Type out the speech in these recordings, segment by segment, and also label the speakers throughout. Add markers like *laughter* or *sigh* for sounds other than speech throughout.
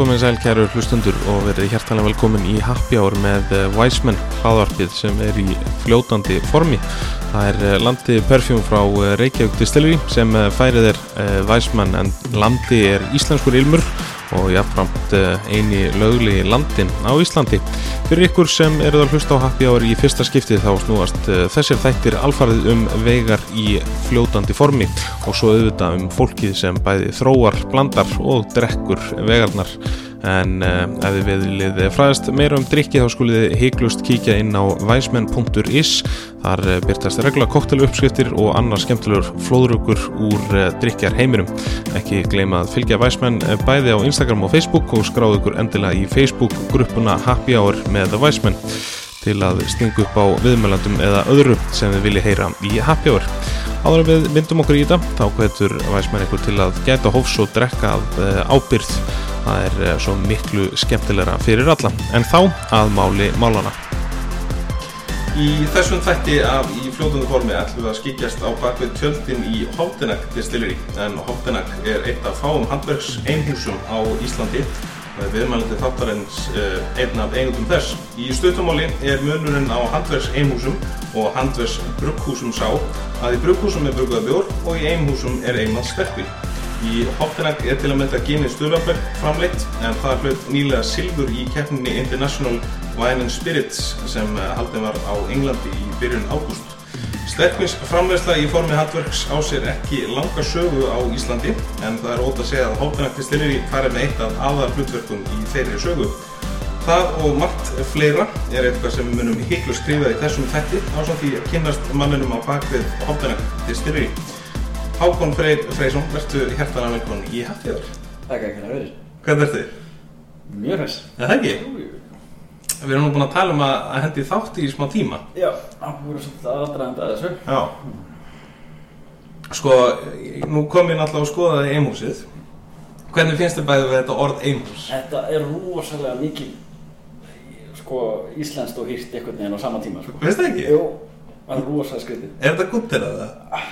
Speaker 1: komið sæl kæru hlustundur og verið hjertalega velkomin í Happy Hour með eh, Wiseman hlaðvarpið sem er í fljótandi formi. Það er eh, landi perfjum frá eh, Reykjavík Distillery sem eh, færið er eh, Wiseman en landi er íslenskur ilmur og jafnframt eh, eini lögli landin á Íslandi. Fyrir ykkur sem eruð að hlusta á Happy Hour í fyrsta skiptið þá snúast eh, þessir þættir alfarið um vegar í fljótandi formi og svo auðvitað um fólkið sem bæði þróar, blandar og drekkur vegarnar. En uh, ef þið viljið fræðast meira um drikki þá skulið þið heiklust kíkja inn á væsmenn.is Þar eh, birtast regla kokteluppskriftir og annar skemmtilegur flóðrugur úr uh, drikjar heimirum. Ekki gleyma að fylgja væsmenn eh, bæði á Instagram og Facebook og skráðu ykkur endilega í Facebook-gruppuna Happy Hour með væsmenn til að stinga upp á viðmælandum eða öðru sem þið viljið heyra í Happy Hour. Áður en við myndum okkur í þetta, þá hvetur væsmenn ykkur til að gæta hófs og drekka af eh, ábyrgð. Það er eh, svo miklu skemmtilegra fyrir alla. En þá að máli málana. Í þessum þætti af í fljóðundu formi ætlum við að skikjast á bakvið tjöldin í Hóttinak distilleri en Hóttinak er eitt af fáum handverks einhúsum á Íslandi og er viðmælandi þáttarins uh, einn af einhundum þess. Í stuttumáli er munurinn á handverks einhúsum og handverks brugghúsum sá að í brugghúsum er bruggaða bjór og í einhúsum er einnað sterkvíl. Í Hóttinak er til að mynda Guinness Sturlaberg framleitt en það hlaut nýlega silfur í keppninni International Wine and Spirits sem eh, haldin var á Englandi í byrjun ágúst. Sterkvins framleiðsla í formi handverks á sér ekki langa sögu á Íslandi en það er ótt að segja að Hóttinak Distilleri farið með eitt af aðar hlutverkum í þeirri sögu. Það og margt fleira er eitthvað sem við munum hiklu skrifa í þessum þætti ásamt því að kynnast manninum á bakvið Hóttinak Distilleri. Hákon Freyr Freysson, verðstu hjertana velkomin í Hattíðar.
Speaker 2: Takk ekki hérna verið.
Speaker 1: Hvernig ertu?
Speaker 2: Mjög hress.
Speaker 1: Er það ekki? Við erum nú búin að tala um að að hendi þátt í smá tíma.
Speaker 2: Já, það voru svolítið aðdraðandi að þessu.
Speaker 1: Já. Sko, nú kom ég náttúrulega að skoða þig einhúsið. Hvernig finnst þér bæðið við þetta orð einhús?
Speaker 2: Þetta er rosalega mikið sko, íslenskt og hýrt einhvern veginn á sama tíma. Sko.
Speaker 1: Veist það ekki?
Speaker 2: Jú, það er rosalega skrítið.
Speaker 1: Er þetta gutt til það?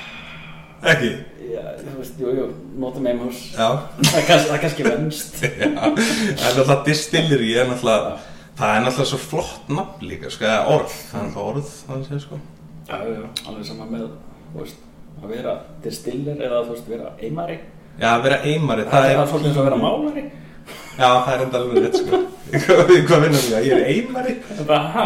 Speaker 1: Ekki?
Speaker 2: Já, þú veist, jú, jú, notum einhús.
Speaker 1: Já.
Speaker 2: Það er kannski, það er kannski venst.
Speaker 1: Já. Það er náttúrulega distilleri, er náttúrulega... Það er náttúrulega svo flott nafn líka, sko, eða orð. Það er náttúrulega orð, það sé, sko.
Speaker 2: Já, já, alveg sama með, þú veist, að vera distiller eða þú veist, vera eimari.
Speaker 1: Já, að vera eimari,
Speaker 2: Það, það er svolítið eins og að vera málari.
Speaker 1: Já, það er enda alveg rétt sko *laughs* Hvað hvað vinnum við það? Ég er einmari
Speaker 2: Það er bara, ha?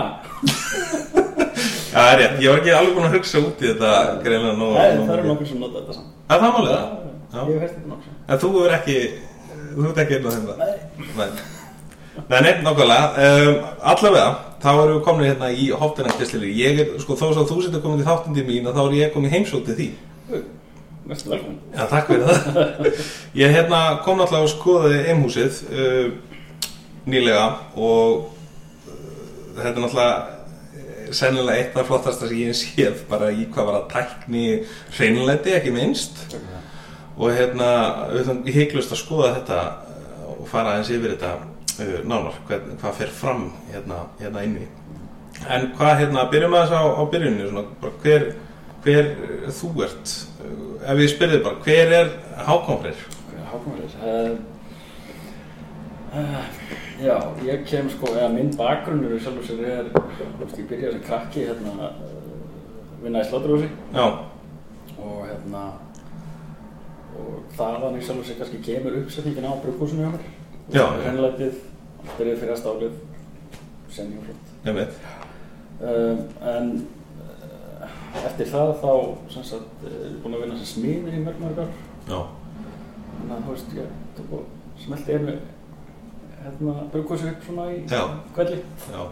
Speaker 1: Já, það er rétt, ég var ekki alveg búin að hugsa út í þetta greinlega nóg
Speaker 2: Það það eru nokkur sem nota þetta saman.
Speaker 1: Það er það málið
Speaker 2: Já,
Speaker 1: það?
Speaker 2: ég veist þetta nokkur.
Speaker 1: En þú er ekki, þú ert ekki einn á þeim það?
Speaker 2: Nei.
Speaker 1: Nei Nei, nei, nokkulega um, Allavega, þá erum við komin hérna í hóttinættisleiri Ég er, sko, þó svo að þú setur komin í þáttindi mín að þá er ég komin heimsótið því
Speaker 2: Mestu velkomin.
Speaker 1: Já, takk fyrir það. *laughs* Ég hérna kom náttúrulega og skoðaði einhúsið uh, nýlega og uh, þetta er náttúrulega eh, sennilega eitt af flottasta sem ég hef séð bara í hvað var að tækni hreinleiti, ekki minnst og hérna, við þum hygglust að skoða þetta eh, og fara aðeins yfir þetta uh, nánar, hvað, hvað fer fram hérna, hérna inni en hvað hérna, byrjum aðeins á, á byrjunni svona, bara, hver, hver eh, þú ert Eh, ef ég spyrði bara, hver er Hákon Freyr?
Speaker 2: Hákonverðis uh, uh, Já, ég kem sko eða minn bakgrunnur í sjálf og sér er þú veist, ég byrjaði sem krakki hérna uh, vinna í sláturhúsi
Speaker 1: Já,
Speaker 2: og hérna og þaðan í sjálf og sér kannski kemur uppsetningin á brugghúsinu hjá mér
Speaker 1: Já, já.
Speaker 2: Hreinlætið, allt er yfir fyrir að stálið sem ég flott
Speaker 1: ég veit
Speaker 2: um, En uh, eftir það þá sem sagt, eh, ég er búinn að vinna sem smíðir í mörg mörg ár
Speaker 1: Já,
Speaker 2: Þannig að þú veist, ég tók og smelti einu hérna, brugghúsi upp svona í
Speaker 1: Já.
Speaker 2: kvelli.
Speaker 1: já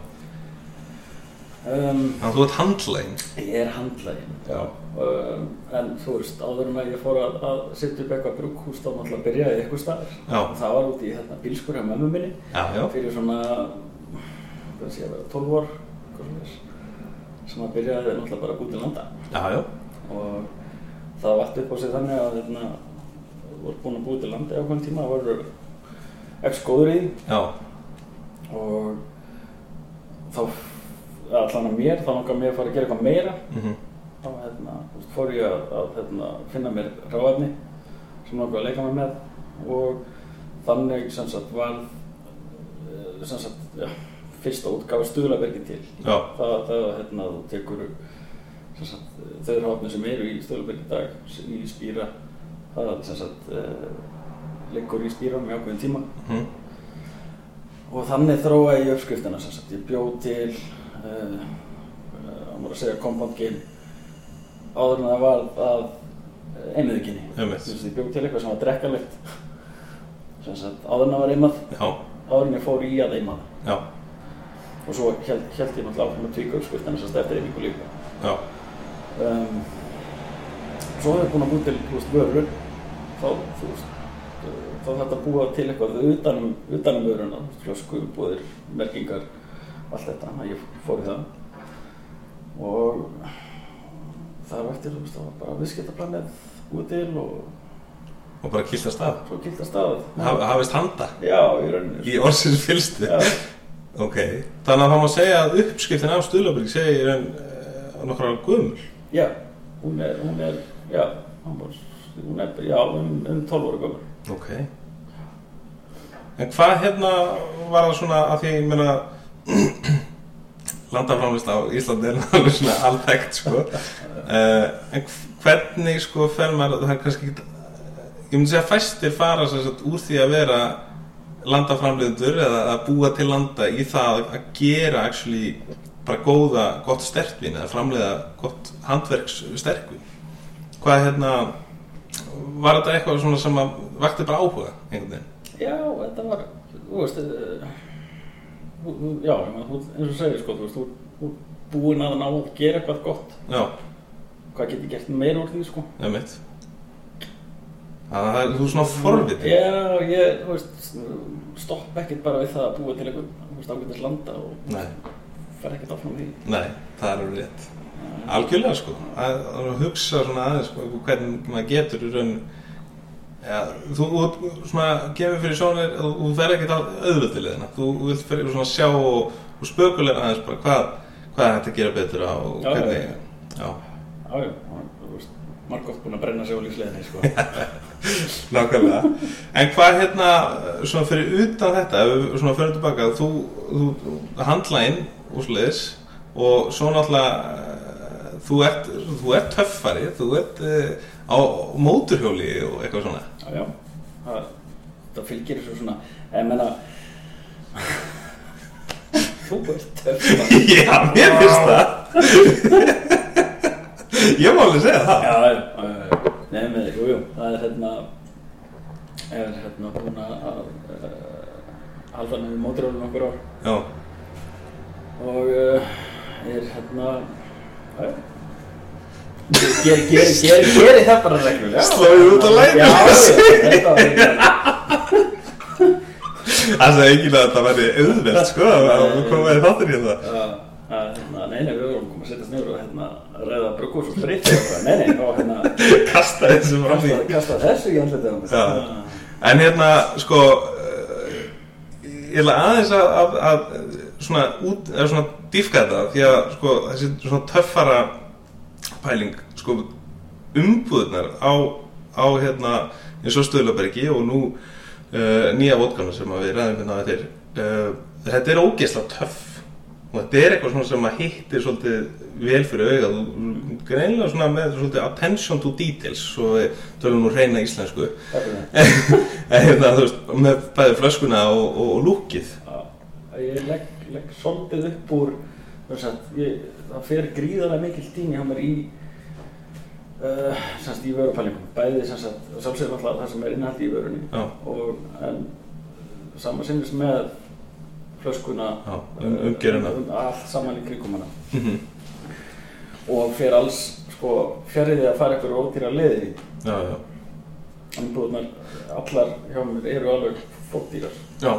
Speaker 2: Um,
Speaker 1: Þannig að þú ert handlæn
Speaker 2: ég er handlægin,
Speaker 1: Já
Speaker 2: um, en þú veist, áður en að ég fór að, að setja upp eitthvað brugghús, þá náttúrulega byrjaði ég eitthvað staðar.
Speaker 1: Já.
Speaker 2: Og Það var út í hérna, bílskur hjá mömmu minni,
Speaker 1: Já, já,
Speaker 2: fyrir svona, hvað sé ég að vera, 12 ár, hvað sem þess, sem að byrjaði náttúrulega bara út í landa.
Speaker 1: já, já.
Speaker 2: og það vart upp á sig þannig að hérna, voru búin að búið til landi á hvern tíma, voru ekki góður í því
Speaker 1: já.
Speaker 2: og þá allan að mér, þá langar mér að fara að gera eitthvað meira
Speaker 1: mhm,
Speaker 2: þá hérna, þú veist, fór ég að, að hérna, finna mér ráefni sem langar að leika mér með og þannig sem sagt varð eh, sem sagt, já, fyrsta útgáfa stuðlabergin til
Speaker 3: Já.
Speaker 2: það, það hérna, þú tekur sem sagt, þau ráfni sem eru í stuðlabergin í dag sem í spýra það sem sagt eh, liggur í spýranum í ákveðin tíma
Speaker 3: Mhm.
Speaker 2: og þannig þróa ég uppskriftina sem sagt, ég bjó til eh, eh, hann var að segja compound game áður en það var að einmiðuginni
Speaker 3: Einmitt.
Speaker 2: ég bjó til eitthvað sem var drekkalegt sem sagt, áður en það var einmað
Speaker 3: Já,
Speaker 2: áður en ég fór í að einmað
Speaker 3: já,
Speaker 2: og svo held, held ég náttúrulega áfram að tvíka uppskriftina sem sagt, eftir einmingu líka
Speaker 3: já,
Speaker 2: um, svo hefur búin að búið til þú veist, vörur þá, þú veist, eh, þá þetta búa til eitthvað utanum, utanum um vöruna þú veist, flösku, búðir, merkingar allt þetta, þannig að ég fór í það og það var eftir, þú veist, það var bara viðskiptaplanið búið til og
Speaker 3: og bara kýlt að stað
Speaker 2: svo kilt að staðið
Speaker 3: Haf, Hafist handa
Speaker 2: já, í rauninni
Speaker 3: í orðsins fylstu
Speaker 2: Já,
Speaker 3: Ok, þannig að það má segja að uppskiptin af Stuðlaberg segir en uh, nokkrar gömul
Speaker 2: já, hún er, hún er, já, hún var, hún er, já, um, um 12 ára gömur.
Speaker 3: Ok En hvað hérna var það svona að því, ég meina *clears throat* landaframlist á Íslandi er alveg svona alltækt sko uh, en hvernig sko fer maður, það er kannski ekki ég myndi segja að fæstir fara sem sagt, úr því að vera landaframliðundur eða að búa til landa í það að gera actually bara góða, gott sterkvin eða framleiða gott handverks sterkvin hvað hérna var þetta eitthvað svona sem að vakti bara áhuga einhvern veginn
Speaker 2: Já, þetta var, þú veist, uh, þú- þú- já, ég meina, þú, eins og segir sko, þú veist, þú, þú ert búinn að ná að gera eitthvað gott,
Speaker 3: já,
Speaker 2: hvað get ég gert meira úr því, sko?
Speaker 3: það er mitt þannig að það er þú er svona forvitið
Speaker 2: Já, ég, þú veist, stopp ekkert bara við það að búa til eitthvað, þú veist, ágætast landa og
Speaker 3: nei,
Speaker 2: fer ekkert áfram í því.
Speaker 3: nei, það er alveg rétt algjörlega sko að, að hugsa svona aðeins sko, hvernig maður getur í raun ja, þú út- svona gefur fyrir sjónir þú, þú fer ekkert að auðvöldilegina þú vilt fyrir svona sjá og, og spökulega aðeins bara hvað, hvað er hægt að gera betur á og
Speaker 2: Já, já,
Speaker 3: hvernig já,
Speaker 2: Já, já, þú veist, margótt búinn að brenna sig á lífsleginni, sko.
Speaker 3: nákvæmlega en hvað hérna svona fyrir utan þetta ef við svona fyrir tilbaka þú, þú handla inn úr sliðis og svo náttúrulega eh, þú ert, þú ert töffari þú ert uh, á móturhjóli og eitthvað svona *laughs*
Speaker 2: Já, já, það, það fylgir þessu svona, en menna, þú ert töff, mann.
Speaker 3: já, mér finnst það *laughs* ég má alveg segja það
Speaker 2: Já, já, já, já. Nei, með þig, jú, jú. Það er hérna, er hérna búin að uh, halda hann við mótrólum okkur ár
Speaker 3: já,
Speaker 2: og uh, er hérna, já, já. Geri, geri, geri, geri það bara reglulega.
Speaker 3: Slóðu út á læknum.
Speaker 2: Já, já, þetta var reglulega.
Speaker 3: það sagði ekki að þetta væri auðvelt sko, að við komum að þáttir hérna
Speaker 2: Já, að, hérna, nei, nei, við vorum komið að setja snur og hérna ræða brugghús og strýtt og eitthvað. Nei, nei, þá hérna,
Speaker 3: kasta þessu fram í
Speaker 2: kasta, kasta þessu í andlitið á mig.
Speaker 3: Já. En hérna, sko, eh, ég ætla aðeins að, að, að svona, út, eða svona dýfka þetta, því að sko, þessi svona töffara pæling, sko, umbúðunar á, á hérna, eins og Stöðlabergi og nú uh, nýja vodkana sem að við ræðum hérna þetta er, uh, þetta er ógeðslega töff og þetta er eitthvað svona sem að hittir svolítið vel fyrir auga, þú greinlega svona með svolítið attention to details, svo við tölum nú reyna íslensku
Speaker 2: Takk fyrir það.
Speaker 3: en hérna, þú veist, með bæði flöskuna og, og, og lúkið
Speaker 2: Já, ég legg, legg svolítið upp úr þú veist, ég, það fer gríðarlega mikill tími hjá mér í uh, semst í vörupælingum bæði sem sagt, sjálfsögum alltaf það sem er innhaldi í vörunni
Speaker 3: Já.
Speaker 2: og en saman sinnis með flöskuna
Speaker 3: Já, um- umgjörðina.
Speaker 2: um, allt saman í kringum hana
Speaker 3: Mhm.
Speaker 2: og fer alls sko fjarrðið að fara ykkur ódýra leiði
Speaker 3: já, já,
Speaker 2: umbúðnar allar hjá mér eru alveg fóttýrar
Speaker 3: já,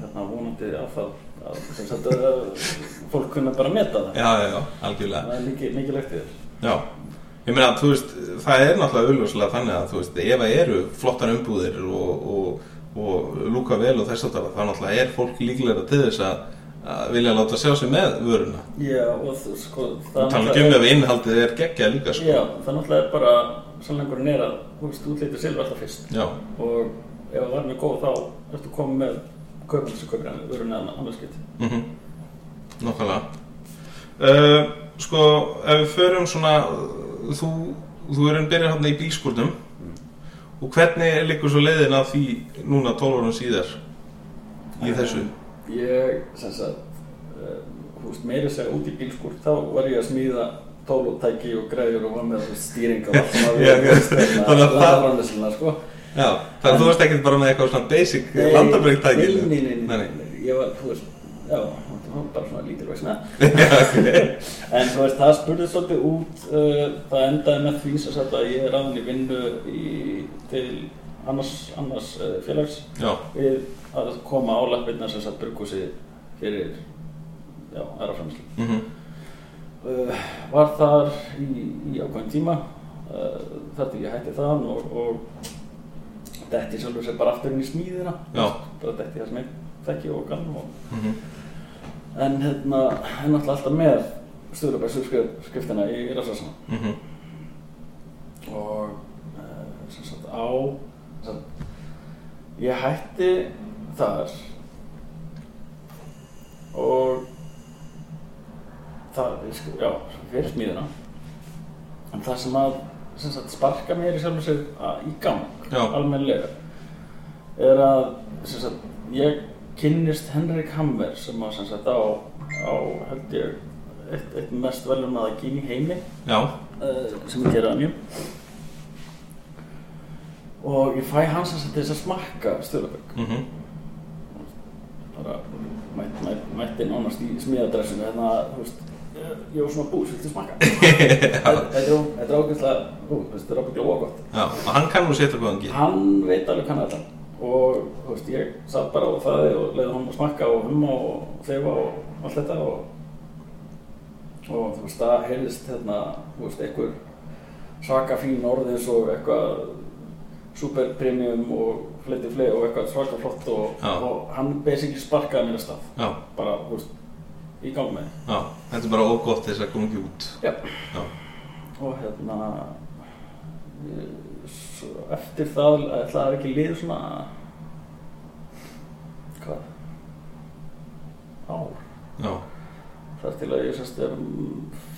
Speaker 2: hérna vonandi að það að, sem sagt að fólk kunna bara meta það
Speaker 3: já, já, algjörlega
Speaker 2: það er mikið, mikið legt í þér
Speaker 3: já, ég meina, þú veist það er náttúrulega auðljóslega þannig að þú veist, ef að eru flottar umbúðir og, og, og lúka vel og þess að það, þá náttúrulega er fólk líklega til þess að, að vilja láta sjá sig með vöruna
Speaker 2: já og þú- sko
Speaker 3: og tala ekki um ef innhaldið er geggjað líka, sko
Speaker 2: já, það náttúrulega er bara sannleikurinn er að þú veist útlítið silfa alltaf fyrst
Speaker 3: sko. já,
Speaker 2: og ef það var mjög góð þá ertu komið með kaupandi sem kaupir hann vörun eða annars geti.
Speaker 3: Mm -hmm. Uh, sko, ef við förum svona, uh, þú, þú erum byrjað hann í bílskúrnum og hvernig liggur svo leiðin af því núna 12 árum síðar
Speaker 2: Eh,
Speaker 3: í þessu?
Speaker 2: Ég, sem sagt, um, þú veist, meira að segja út í bílskur, þá var ég að smíða tól og tæki og græður og var með þú veist,
Speaker 3: *laughs*
Speaker 2: stýring og allt sem að
Speaker 3: Já,
Speaker 2: við
Speaker 3: þannig að það-
Speaker 2: lafrannesluna, sko.
Speaker 3: Já, þannig að þú veist ekkert bara með eitthvað svona basic
Speaker 2: Nei,
Speaker 3: landabrygtæki?
Speaker 2: Eh, Nei, nei, nei, nei, ég var, þú veist, já, það var bara svona lítil *laughs* vegna. *laughs* en þú veist, það spurði svolítið út, uh, það endaði með því sem sagt að ég er aðan í vinnu í, til annars, annars uh, félags
Speaker 3: Já,
Speaker 2: við að koma álappirna sem sagt brugghúsi fyrir já, aðra framslu
Speaker 3: mhm,
Speaker 2: uh, var þar í, í ákveðin tíma uh, þar til ég hætti þaðan og, og detti sjálfur sér bara aftur inn í smíðina
Speaker 3: Já.
Speaker 2: bara detti það sem ég þekki og kann og,
Speaker 3: mhm,
Speaker 2: en hérna, en náttúrulega alltaf með stuðlabæðskriftina í Rassarsan
Speaker 3: mhm,
Speaker 2: og uh, sem sagt á sem sagt, ég hætti þar og það, ég sko, já, fyrir smíðina en það sem að sem sagt sparka mér í sjálfum sér að- í gang
Speaker 3: Já.
Speaker 2: almennilega er að sem sagt ég kynnist Henrik Hammer sem að sem sagt á, á held ég eitt, eitt mest velunaða gín í heimi
Speaker 3: já,
Speaker 2: uh, sem ég gerði að mjög og ég fæ hans að til þess að smakka Sturlabögg
Speaker 3: mhm,
Speaker 2: bara mætt, mætt, mætti nánast í smiðadressinu hérna, þú veist eh, ég var svona bús, viltu smakka? Þetta þetta er ó- þetta er ákveðslega, þú veist, þetta er ákveðslega ógótt
Speaker 3: já, og hann kann nú setja góðan gíl.
Speaker 2: hann veit alveg hann þetta og þú veist, ég satt bara og þaði og leiði hann að smakka og humma og þefa og allt þetta og, og þú veist, það heyrðist hérna, þú veist, einhver svaka fín orð eins og eitthvað super premium og fleiti flei og eitthvað svaka flott og,
Speaker 3: Já.
Speaker 2: og hann basically sparkaði mér að stað
Speaker 3: Já,
Speaker 2: bara, þú veist, í gang með þig.
Speaker 3: já, þetta er bara ógott þess að koma ekki út.
Speaker 2: Já.
Speaker 3: Já,
Speaker 2: og hérna eh, svo eftir það ætlaði að ekki liða svona hvað ár
Speaker 3: já,
Speaker 2: þar til að ég sérst er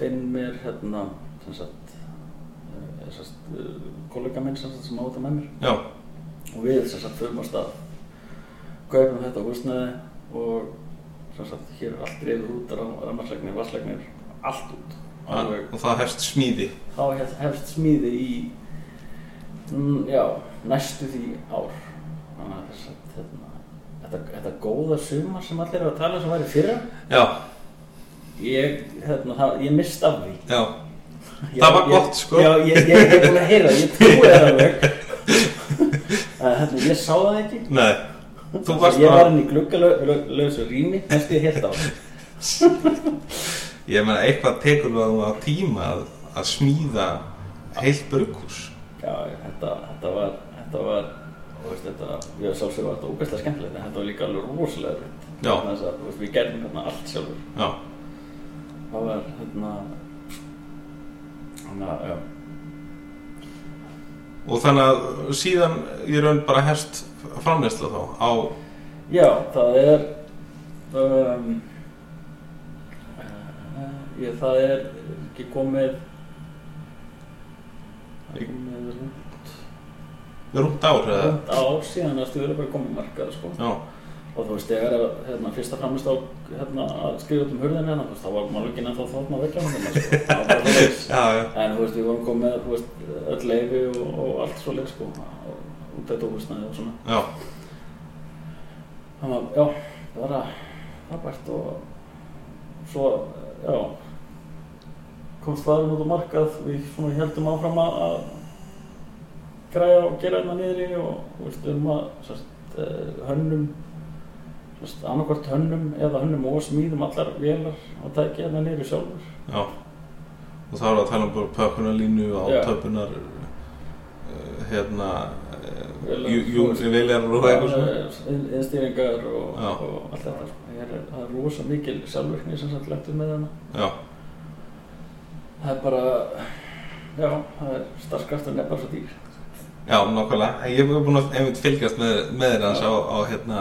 Speaker 2: finn mér hérna sem sagt eh, sérst eh, kollega minn sem sagt sem áta með mér
Speaker 3: já,
Speaker 2: og við sem sagt förum á stað kaupum þetta húsnæði og sem sagt hér er allt drifið út rammarslagnir, vasslagnir, allt út alveg
Speaker 3: og það hefst smíði.
Speaker 2: þá hef- hefst smíði í mm, já, næstu því ár þannig að þess að hérna, þetta, þetta góða sumar sem allir eru að tala sem var í fyrra
Speaker 3: Já,
Speaker 2: ég, hérna, það, ég mist af því
Speaker 3: já,
Speaker 2: ég,
Speaker 3: Það var
Speaker 2: ég-
Speaker 3: gott, sko.
Speaker 2: já, ég, ég, ég er búin að heyra, ég trúi það
Speaker 3: *laughs*
Speaker 2: alveg að hérna, ég sá það ekki
Speaker 3: nei, þú varst
Speaker 2: ég var
Speaker 3: bara,
Speaker 2: inn í gluggalösu rými næstu því heilt ár
Speaker 3: ég meina eitthvað tekur við á tíma að, að smíða heilt brugghús.
Speaker 2: Já, þetta, þetta var, þetta var, þú veist, þetta, ég sjálfsögur var þetta ógeðslega skemmtilegt, en þetta var líka alveg rosalega erfitt.
Speaker 3: Já.
Speaker 2: Vegna Þess að, þú veist, við gerðum hérna allt sjálfur.
Speaker 3: Já,
Speaker 2: Það var, hérna, þannig að, já,
Speaker 3: og þannig að síðan ég raun bara hefst framnesla þá á,
Speaker 2: já, það er, um, uh, ég, það er ekki komið, það er komið rúmt,
Speaker 3: rúmt ár eða,
Speaker 2: rúmt ár síðan að stuður bara komið markað, sko.
Speaker 3: já,
Speaker 2: Og þú veist, þegar að, hérna, fyrsta framist á hérna, að skrifa út um hurðin hérna, þú veist, þá var maður ekki nefn þá þóttna vekja hann hérna, sko. Það var bara svoleiðis.
Speaker 3: já, já,
Speaker 2: En þú veist, við vorum komið, þú veist, öll leifi og, og allt svo leið, sko, og út þetta óhusnaði og svona.
Speaker 3: já,
Speaker 2: Þannig að, já, bara, frábært og svo, já, komst þaðurinn út á markað, við svona heldum áfram að, að græja og gera hérna niður í og, þú veist, við erum að, sérst, eh, hönnum, sérst, annarkvort hönnum eða hönnum og smíðum allar vélar og tæki hérna niður í sjálfur.
Speaker 3: já. Og þá er að tala um bara pökkunarlínu á
Speaker 2: Já.
Speaker 3: töpunar, eh, hérna, eh,
Speaker 2: Vélar.
Speaker 3: júngri viljar og eitthvað svona.
Speaker 2: Eh, Innstýringar og,
Speaker 3: Já.
Speaker 2: og allt þetta. sko. Ég er, það er rosa mikil sjálfvirkni sem sagt lagt upp með hana.
Speaker 3: Já,
Speaker 2: Það er bara, já, það er starfskraftan er bara svo dýr.
Speaker 3: já, nokkulega. Ég hef búin að einmitt fylgjast með, með þér hans á, á, hérna,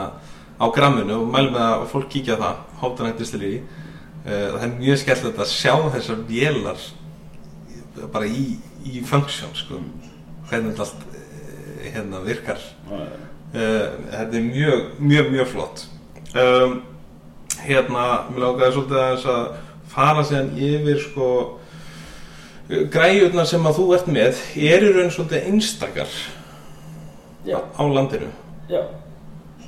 Speaker 3: á gramminu og mælum með að fólk kíkja á það hátanægt distilleri uh, það er mjög skemmtilegt að sjá þessar vélar bara í, í function sko, hvernig þetta allt eh, hérna virkar uh, þetta er mjög, mjög, mjög flott um, hérna, mér lákaði svolítið aðeins að fara séðan yfir sko eh, græjurnar sem að þú ert með eru raun svolítið einstakar
Speaker 2: Já,
Speaker 3: á landinu
Speaker 2: já,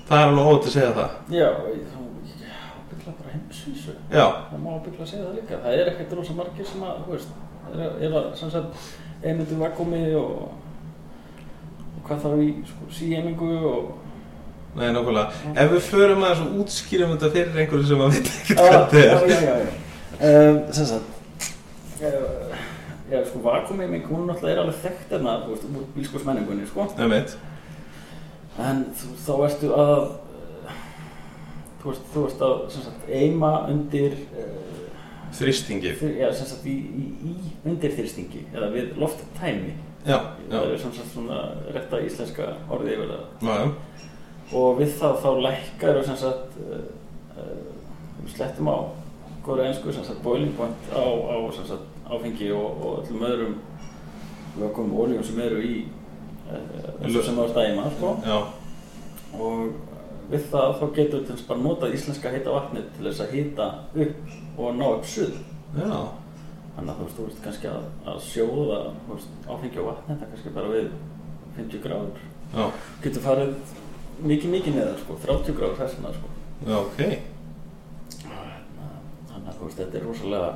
Speaker 3: það er alveg óvægt að segja það
Speaker 2: já, ég- þá- ég ábyggla bara heimsvísu.
Speaker 3: já,
Speaker 2: Það má ábyggla segja það líka. Það er ekkert rosa margir sem að, þú veist, er að, er að sem sagt, einundi vakkómi og, og hvað þá í sko, síeiningu og...
Speaker 3: nei nákvæmlega ef við förum aðeins og útskýrum þetta fyrir einhverju sem að veit ekki hvað
Speaker 2: Já,
Speaker 3: þetta
Speaker 2: já,
Speaker 3: er
Speaker 2: já, já. Um, sem sagt, eh, já, sko, vakkómið minn, hún náttúrulega er alveg þekkt þarna, þú veist, úr bílskosmenningunni, sko.
Speaker 3: Einmitt.
Speaker 2: En þú, þá ertu að eh, þú ert, þú ert að sem sagt, eima undir uh,
Speaker 3: þrýstingi
Speaker 2: fyr, já, sem sagt, í, í, í undirþyrstingi eða við lofttæmi
Speaker 3: já, já,
Speaker 2: það er sem sagt svona rétta íslenska orðið yfir það
Speaker 3: já, já.
Speaker 2: og við það þá lækkar og sem sagt uh, uh, slettum á góður einsku sem sagt boiling point á, á sem sagt áfengi og, og öllum öðrum vökkum og oljum sem eru í uh,
Speaker 3: Lö-
Speaker 2: sem það er dæma sko.
Speaker 3: já.
Speaker 2: og við það þá getur til þess bara notað íslenska heita vatnið til þess að hita upp og ná upp suð
Speaker 3: já.
Speaker 2: þannig að þú veist, þú veist kannski að, að sjóða þú veist, áfengi á vatni þetta er kannski bara við 50 gráður
Speaker 3: já.
Speaker 2: getur farið mikið mikið neðar sko, 30 gráður þessuna sko.
Speaker 3: já ok
Speaker 2: þannig að þú veist, þetta er rosalega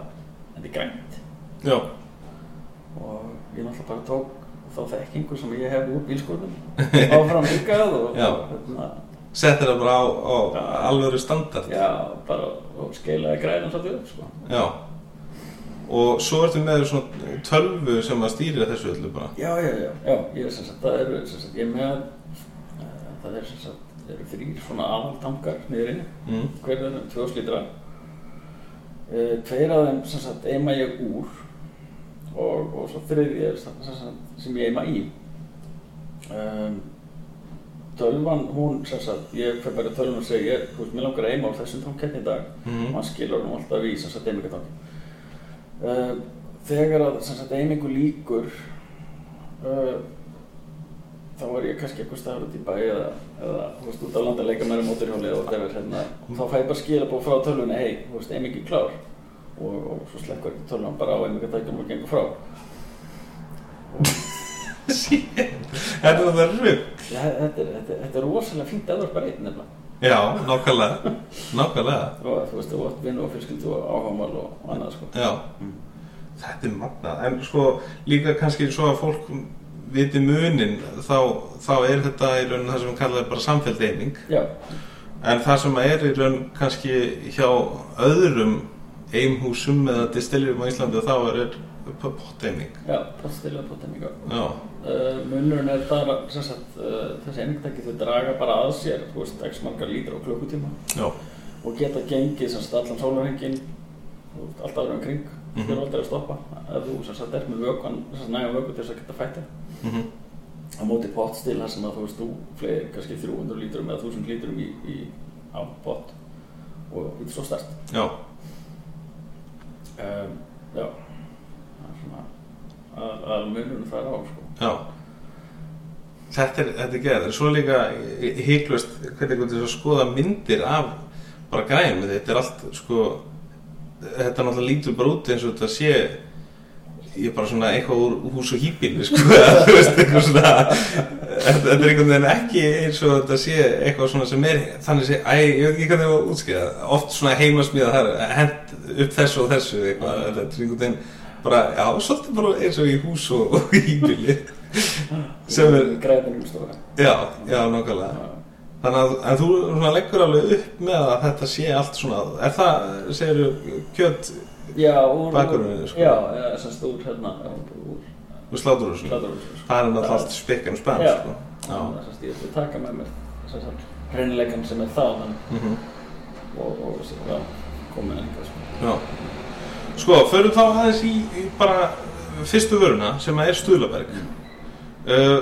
Speaker 2: þetta er grænt
Speaker 3: já,
Speaker 2: og ég náttúrulega bara tók þá þekkingu sem ég hef úr bílskorðum áfram líkað og,
Speaker 3: Já.
Speaker 2: og hérna,
Speaker 3: sett þetta bara á, á
Speaker 2: Já.
Speaker 3: alvöru standard
Speaker 2: já, bara og skeilaði grænan svolítið upp sko.
Speaker 3: Já Og svo ertu með svona tölvu sem að stýra þessu öllu bara
Speaker 2: Já, já, já, já, ég er sem sagt, það eru sem sagt, ég er með, eh, það er sem sagt, það eru þrýr svona aðaltangar niður inni,
Speaker 3: mm.
Speaker 2: hver er þeim, tvö slítra. Eh, Tveir af þeim sem sagt eima ég úr og, og svo þriðið er sem sagt, sem ég eima í. Um, tölvan, hún sem sagt, ég fer bara í tölvan og segi, ég, þú veist, mér langar að eima á þessum tanketni í dag og *laughs*
Speaker 3: Mm.
Speaker 2: hann skilur hann alltaf í sem sagt eimingatangi uh, þegar að sem sagt eimingu líkur uh, þá er ég kannski eitthvað staðar út í bæ eða, eða þú veist út á landa að leika mér um móturhjóli og það er hérna og þá fæ ég bara skilabóð frá tölvunni hei, þú veist, eimingi klár og, og svo slekkur tölvan bara á eimingatækjum og gengur frá
Speaker 3: Þetta er það rugg
Speaker 2: Já, þetta er, þetta, er- þetta er rosalega fínt aðvarp bara einn nefnilega
Speaker 3: Já, nákvæmlega Nákvæmlega
Speaker 2: og þú veist, þú átt vinn og fjölskyldu og áhagamál og annað sko
Speaker 3: Já
Speaker 2: Mm.
Speaker 3: Þetta er magnað En sko líka kannski svo að fólk viti munin þá, þá er þetta í raun það sem kallaði bara samfelld eining
Speaker 2: Já,
Speaker 3: En það sem er í raun kannski hjá öðrum eimhúsum eða distillum á Íslandi þá er potteining
Speaker 2: já, postilega potemminga
Speaker 3: Já,
Speaker 2: Uh, munurinn er það að sem sagt, uh, þessi einingtæki þau draga bara að sér þú veist, x margar lítra á klukkutíma
Speaker 3: já,
Speaker 2: og geta gengið sem sagt allan sólarhengin allt aðra um kring mm
Speaker 3: Mhm.
Speaker 2: -hmm. aldrei að stoppa ef þú sem sagt er með vökun sem sagt næga vöku til þess að geta fætti
Speaker 3: mm
Speaker 2: á móti pottstil þar sem að þú veist þú flegir kannski 300 lítrum eða 1000 lítrum í, í, á pott og þetta er svo stærst
Speaker 3: já
Speaker 2: um, já það er svona að, að munurinn það er á sko.
Speaker 3: Já Þetta er, þetta er geðað, svo líka híklust hvernig hvernig þess að skoða myndir af bara græn þetta er allt sko þetta náttúrulega lítur bara út eins og þetta sé ég er bara svona eitthvað úr hús og hýpili sko, *laughs* þú veist, eitthvað svona þetta, þetta er einhvern veginn ekki eins og þetta sé eitthvað svona sem er þannig sé, æ, ég veit ekki hvernig það var útskýða oft svona heimasmíða þar hent upp þessu og þessu eitthvað þetta er einhvern veginn bara, já, svolítið bara eins og í hús og, og hýpili sem er,
Speaker 2: græðin um stóra
Speaker 3: já, já, nákvæmlega
Speaker 2: Já.
Speaker 3: Þannig að en þú svona leggur alveg upp með að þetta sé allt svona, er það, segir þú, kjött
Speaker 2: Já, úr,
Speaker 3: Bakgrunni, sko.
Speaker 2: Já, eða sem sagt úr hérna úr- úr
Speaker 3: og slátur og svona?
Speaker 2: hladurhúsinu sko.
Speaker 3: Það er náttúrulega allt spikk en spenn,
Speaker 2: Já.
Speaker 3: sko.
Speaker 2: Þannig að sem sagt, ég ætla að taka með mér sem sagt, hreinleikan sem er það en,
Speaker 3: Mhm.
Speaker 2: og, og sem, já, komin eitthvað sko.
Speaker 3: Já. Sko, förum þá aðeins í, í bara fyrstu vöruna sem að er Stuðlaberg.
Speaker 2: Mm.
Speaker 3: Uh,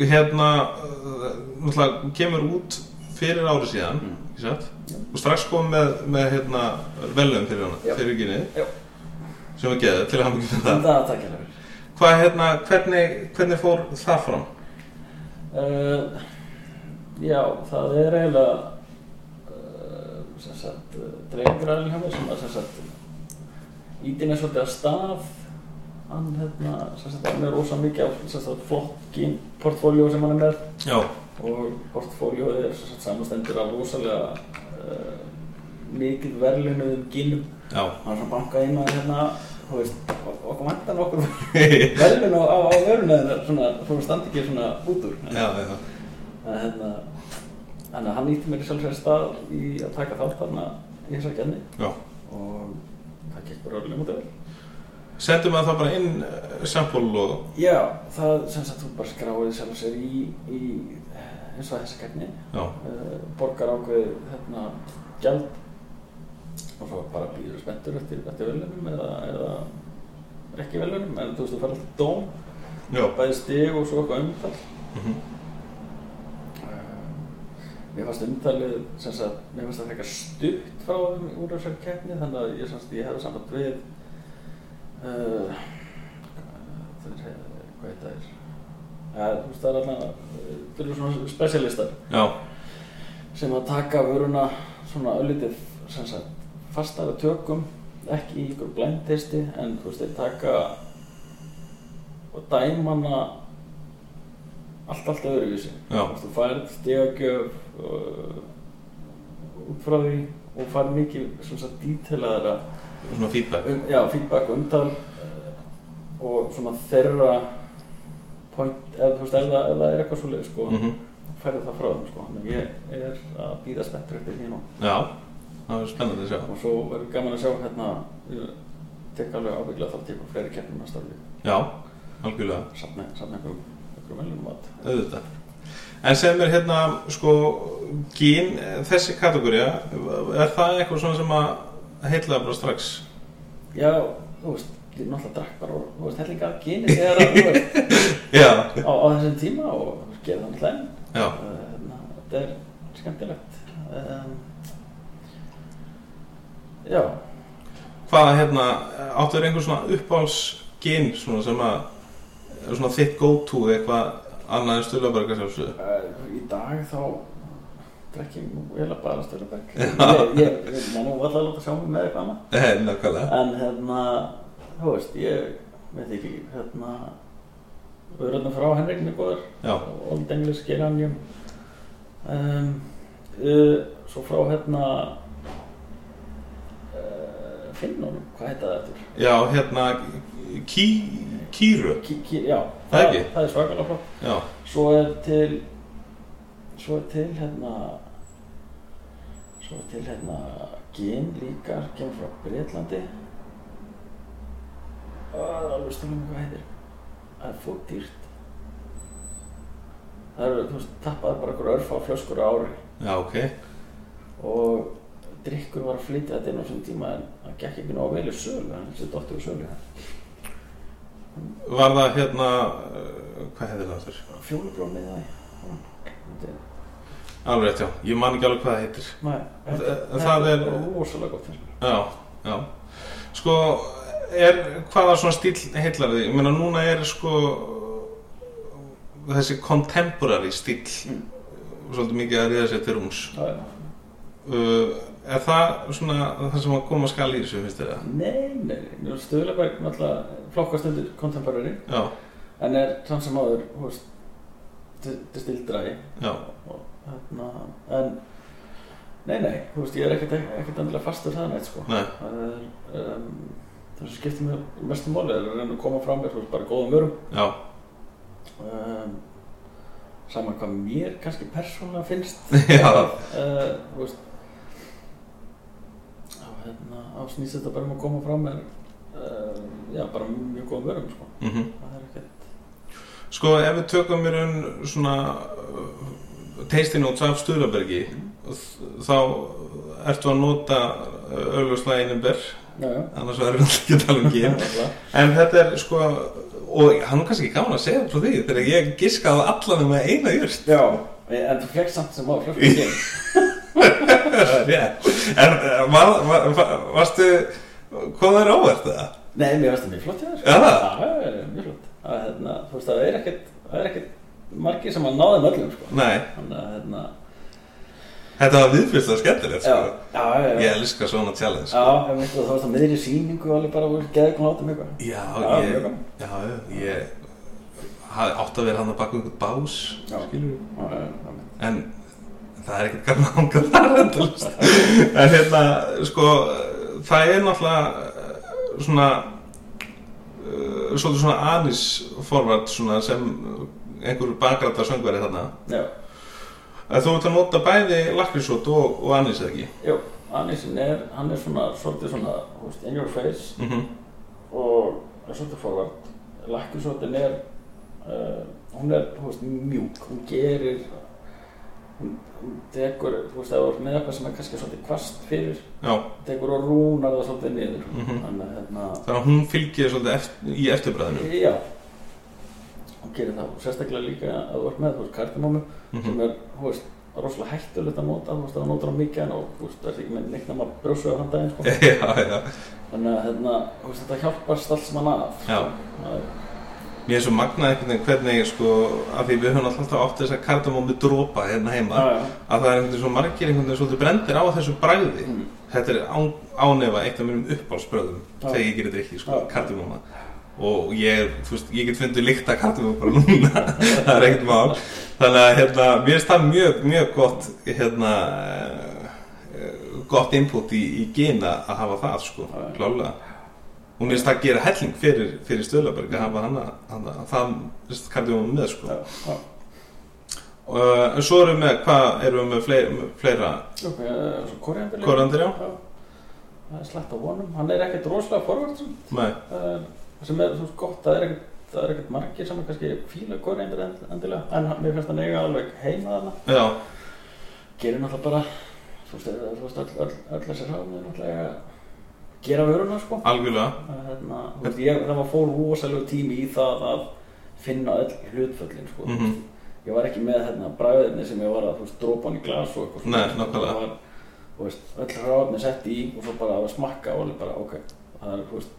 Speaker 3: hérna, uh, náttúrulega kemur út fyrir ári síðan,
Speaker 2: Mm.
Speaker 3: ekki satt?
Speaker 2: Já.
Speaker 3: Og strax kom með, með hérna, velum fyrir hana,
Speaker 2: Já.
Speaker 3: fyrir Gynið,
Speaker 2: Já.
Speaker 3: sem var geðið til að hafa ekki fyrir
Speaker 2: en
Speaker 3: það.
Speaker 2: það er takkjalega vel.
Speaker 3: Hvað, hérna, hvernig, hvernig fór það fram?
Speaker 2: Uh, já, það er eiginlega uh, sem sagt uh, dreifingræðin hjá mér sem að sem sagt ítin er svolítið að stað hann hérna, sem sagt, hann er rosa mikið á sem sagt flokkin portfóljó sem hann er með
Speaker 3: Já.
Speaker 2: og portfóljóið er sem sagt samanstendur af rosalega uh, mikið verðlunuðum gínum
Speaker 3: Já.
Speaker 2: hann er svona bankað inn á hérna þú veist, ok- okkur vantar nokkur verðlun á, á, á vörunöðina svona, svona standi ekki svona út úr
Speaker 3: já, já.
Speaker 2: en hérna þannig að hann nýtti mér í sjálfsveg stað í að taka þátt þarna í þessar genni
Speaker 3: Já.
Speaker 2: og það gekk bara örlega mútið vel
Speaker 3: Sendur maður það bara inn uh, sampól og...
Speaker 2: já, það sem sagt þú bara skráði sjálfsveg í, í eh, eins og þessa genni
Speaker 3: Já.
Speaker 2: uh, borgar ákveðið hérna, gjald og svo bara býður spenntur eftir, eftir velunum eða, eða ekki velunum en þú veist þú fær alltaf dóm
Speaker 3: Já.
Speaker 2: bæði stig og svo eitthvað umtal
Speaker 3: Mm
Speaker 2: uh, mér fannst umtalið sem sagt, mér fannst það frekar stutt frá þeim úr þessari keppni þannig að ég, sem sagt, ég hefði samband við uh, það er eh, hvað þetta er Ja, þú veist það er alltaf, það eru svona spesialistar
Speaker 3: Já.
Speaker 2: sem að taka vöruna svona öllitið sem sagt fastara tökum, ekki í ykkur blindtesti en þú veist þeir taka og dæmana allt allt öðruvísi
Speaker 3: Já.
Speaker 2: Þú veist, þú færð stegagjöf uh, út frá því og færð mikið svona sagt dítelaðara
Speaker 3: Svona feedback.
Speaker 2: um, já, feedback og umtal uh, og svona þeirra point, eða þú veist ef það, ef það er eitthvað svoleið sko
Speaker 3: Mhm.
Speaker 2: færði það frá þeim sko, en ég er að býða spenntur eftir því nú
Speaker 3: Já. Það er spennandi að sjá.
Speaker 2: og svo verður gaman að sjá hérna ég tek alveg ábygglega þátt í ykkur fleiri keppnum að starfi
Speaker 3: Já. Algjörlega.
Speaker 2: safna, safna einhverjum einhverjum velunum mat
Speaker 3: auðvitað en sem er hérna sko gín, þessi kategóri er það eitthvað svona sem að heitlaði bara strax
Speaker 2: já, þú veist, ég náttúrulega drakk bara og þú veist, hellinga af kyni þegar að, þú veist,
Speaker 3: já,
Speaker 2: á, á þessum tíma og þú veist, gerði hann hlæn
Speaker 3: já,
Speaker 2: uh, hérna, þetta er skemmtilegt um, já,
Speaker 3: hvaða hérna áttu þér einhver svona uppáhals gín svona sem að er svona þitt go to eitthvað annað en stuðlaberga sjálfsögðu *laughs*
Speaker 2: Uh, í dag þá drekk ég nú heila bara Stöðlabæk ég, ég, ég má nú alltaf láta sjá mig með eitthvað annað
Speaker 3: Eh, nákvæmlega
Speaker 2: en hérna, þú veist, ég veit ekki, hérna við erum hérna frá Henrik mjög góður
Speaker 3: já,
Speaker 2: Old English Geranium um, uh, svo frá hérna uh, Finnum, hvað heita það eftir?
Speaker 3: já hérna ký, kýru
Speaker 2: Kí, kí, já,
Speaker 3: Það ekki?
Speaker 2: það er svakalega flott
Speaker 3: já,
Speaker 2: Svo er til Svo er til hérna Svo er til hérna Gin líka, gin frá Breitlandi Það er alveg stundum hvað heitir Það er fótt dýrt Það eru, þú veist, tappaði bara einhver örfá flöskur á ári
Speaker 3: já ok
Speaker 2: og drikkur var að flytja þetta inn á þessum tíma en það gekk ekki nóg vel í sölu en þessi dottur í sölu
Speaker 3: var það hérna eh, hvað heitir það aftur?
Speaker 2: Fjólubrónið það Þetta er-
Speaker 3: alveg rétt já, ég man ekki alveg hvað það heitir
Speaker 2: Nei,
Speaker 3: Það-
Speaker 2: þetta-
Speaker 3: það
Speaker 2: þetta
Speaker 3: er-
Speaker 2: rosalega gott fyrir
Speaker 3: Já, já. Sko, er, hvaða svona stíl heillar þig? Ég meina, núna er sko þessi contemporary stíl
Speaker 2: Mm.
Speaker 3: svolítið mikið að ríða sér til rúms.
Speaker 2: Já, já.
Speaker 3: Uh, er það svona það sem að koma skal í þessu, finnst þér það?
Speaker 2: Nei, nei, nei, Stöðlaberg náttúrulega flokkast undir contemporary
Speaker 3: Já,
Speaker 2: en er samt sem áður, þú veist, til til stildræði
Speaker 3: já,
Speaker 2: og hérna, en nei, nei, þú veist, ég er ekkert, ekkert endilega fastur það neitt, sko.
Speaker 3: nei,
Speaker 2: Það er, um, það sem skiptir mér mestum máli er að reyna að koma fram með, þú veist, bara góðum vörum.
Speaker 3: já,
Speaker 2: Um, saman hvað mér kannski persónulega finnst.
Speaker 3: *laughs* Já.
Speaker 2: Eh, Þú veist, á, hérna, á snýst þetta bara um að koma fram með, uh, já, bara mjög góðum vörum, sko.
Speaker 3: mhm.
Speaker 2: Það er ekkert.
Speaker 3: Sko, ef við tökum mér um svona uh, tasting notes af Sturlabergi þá ertu að nota eh, auðvitað einumber
Speaker 2: Já, já.
Speaker 3: annars verður við ekki að tala um gym
Speaker 2: Nákvæmlega.
Speaker 3: En þetta er sko *laughs* og hann er kannski ekki gaman að segja frá því þegar ég giskaði allan um að eina jörst
Speaker 2: Já, Eh, En þú fekk samt sem á flösku gin
Speaker 3: *laughs* Rétt. En eh, var, var, var, varstu, kom þér óvart það?
Speaker 2: Nei, mér varst það mjög flott hjá þér sko.
Speaker 3: Já, það?
Speaker 2: Já, já, já, mjög flott að, hérna, Þú veist, það er ekkert, það er ekkert margir sem að ná þeim öllum sko.
Speaker 3: Nei,
Speaker 2: Þannig að, hérna
Speaker 3: þetta var viðfyrst og skemmtilegt,
Speaker 2: Já,
Speaker 3: sko.
Speaker 2: já, já, já.
Speaker 3: Ég elska svona
Speaker 2: Já,
Speaker 3: challenge.
Speaker 2: Sko, ef einhver, það varst á miðri sýningu alveg bara og geði konar átum eitthvað
Speaker 3: Já,
Speaker 2: Já, mjög
Speaker 3: ég,
Speaker 2: gaman.
Speaker 3: já, ég hafði átt að vera hann að baka einhvern bás,
Speaker 2: Já.
Speaker 3: skilur við.
Speaker 2: Já, já, já.
Speaker 3: En það er ekkert gaman að hanga þar
Speaker 2: *laughs*
Speaker 3: endalist. En hérna, sko, það er náttúrulega eh, svona, eh, svolítið svona anis forvart svona sem einhver bakrættar söngveri þarna.
Speaker 2: Já,
Speaker 3: að þú ert að nota bæði lakrísót og, og annís eða ekki
Speaker 2: jú, Anisinn er, hann er svona, svolítið svona, þú veist, in your face
Speaker 3: mm -hmm.
Speaker 2: og er svolítið forvært. Lakkisóttin er, uh, hún er, þú veist, mjúk, hún gerir, hún, hún tekur, þú veist, ef þú ert með eitthvað sem er kannski svolítið kvast fyrir,
Speaker 3: já,
Speaker 2: tekur og rúnar það svolítið niður.
Speaker 3: Mhm.
Speaker 2: Þannig að, hérna,
Speaker 3: þannig að hún fylgir svolítið eftir, í eftirbræðinu
Speaker 2: já, hún gerir það. Og sérstaklega líka að þú ert með, þú veist, kardimómu,
Speaker 3: Mhm.
Speaker 2: sem er, þú veist, rosalega hættulegt að nota, þú veist, ef þú notar á mikið en og, þú veist, það er ekki með neitt nema brjósuðu þann daginn, sko.
Speaker 3: *laughs* já, já,
Speaker 2: Þannig að, hérna, þú veist, þetta hjálpast allt sem hann að. sko.
Speaker 3: já
Speaker 2: Það er-
Speaker 3: mér er svo magnað einhvern veginn hvernig sko, að því við höfum alltaf átt þess að kardamómi dropa hérna heima
Speaker 2: Já, já.
Speaker 3: að það er einhvern veginn svo margir einhvern veginn svolítið brendir á þessu bræði
Speaker 2: Mm.
Speaker 3: þetta er án, ánefa eitt af mínum uppálsbröðum
Speaker 2: Já.
Speaker 3: þegar ég gerir drikki, sko,
Speaker 2: Já.
Speaker 3: kardamóma og ég, er, þú veist, ég get fundið líkt að kardamóma bara núna, *laughs* það er ekkert mál þannig að, hérna, mér finnst það mjög, mjög gott, hérna eh, gott input í, í gena að hafa það, sko,
Speaker 2: Já, já.
Speaker 3: klálega og mér finnst það að gera helling fyrir, fyrir Stöðlaberg að hafa hana, hana það, þú veist, kardamóma með, sko
Speaker 2: Já, já.
Speaker 3: og eh, svo erum við með, hvað erum við með fleira, fleira
Speaker 2: Ok, eh, svo koriander líka.
Speaker 3: Koriander, já.
Speaker 2: Það er slætt á honum, hann er ekkert rosalega forvært sem,
Speaker 3: Nei,
Speaker 2: uh, sem er þú veist gott, það er ekkert, það er ekkert margir sem er kannski fíla koriander end- endilega, en hann- mér finnst hann eiga alveg heima þarna.
Speaker 3: já,
Speaker 2: Gerir náttúrulega bara, þú veist, eh, þú veist, öll, öll, öll þessi ráðum er náttúrulega eiga að gera vöruna, sko.
Speaker 3: algjörlega
Speaker 2: Það er Hérna, þú veist, ég, það var fór rosalega tími í það að finna öll hlutföllin, sko.
Speaker 3: mm
Speaker 2: ég var ekki með hérna bræðinni sem ég var að þú veist, drópa hann í glas og eitthvað
Speaker 3: Nei, nákvæmlega.
Speaker 2: Það var, þú veist, öll ráðni sett í og svo bara að smakka og alveg bara, ok, það er, þú veist,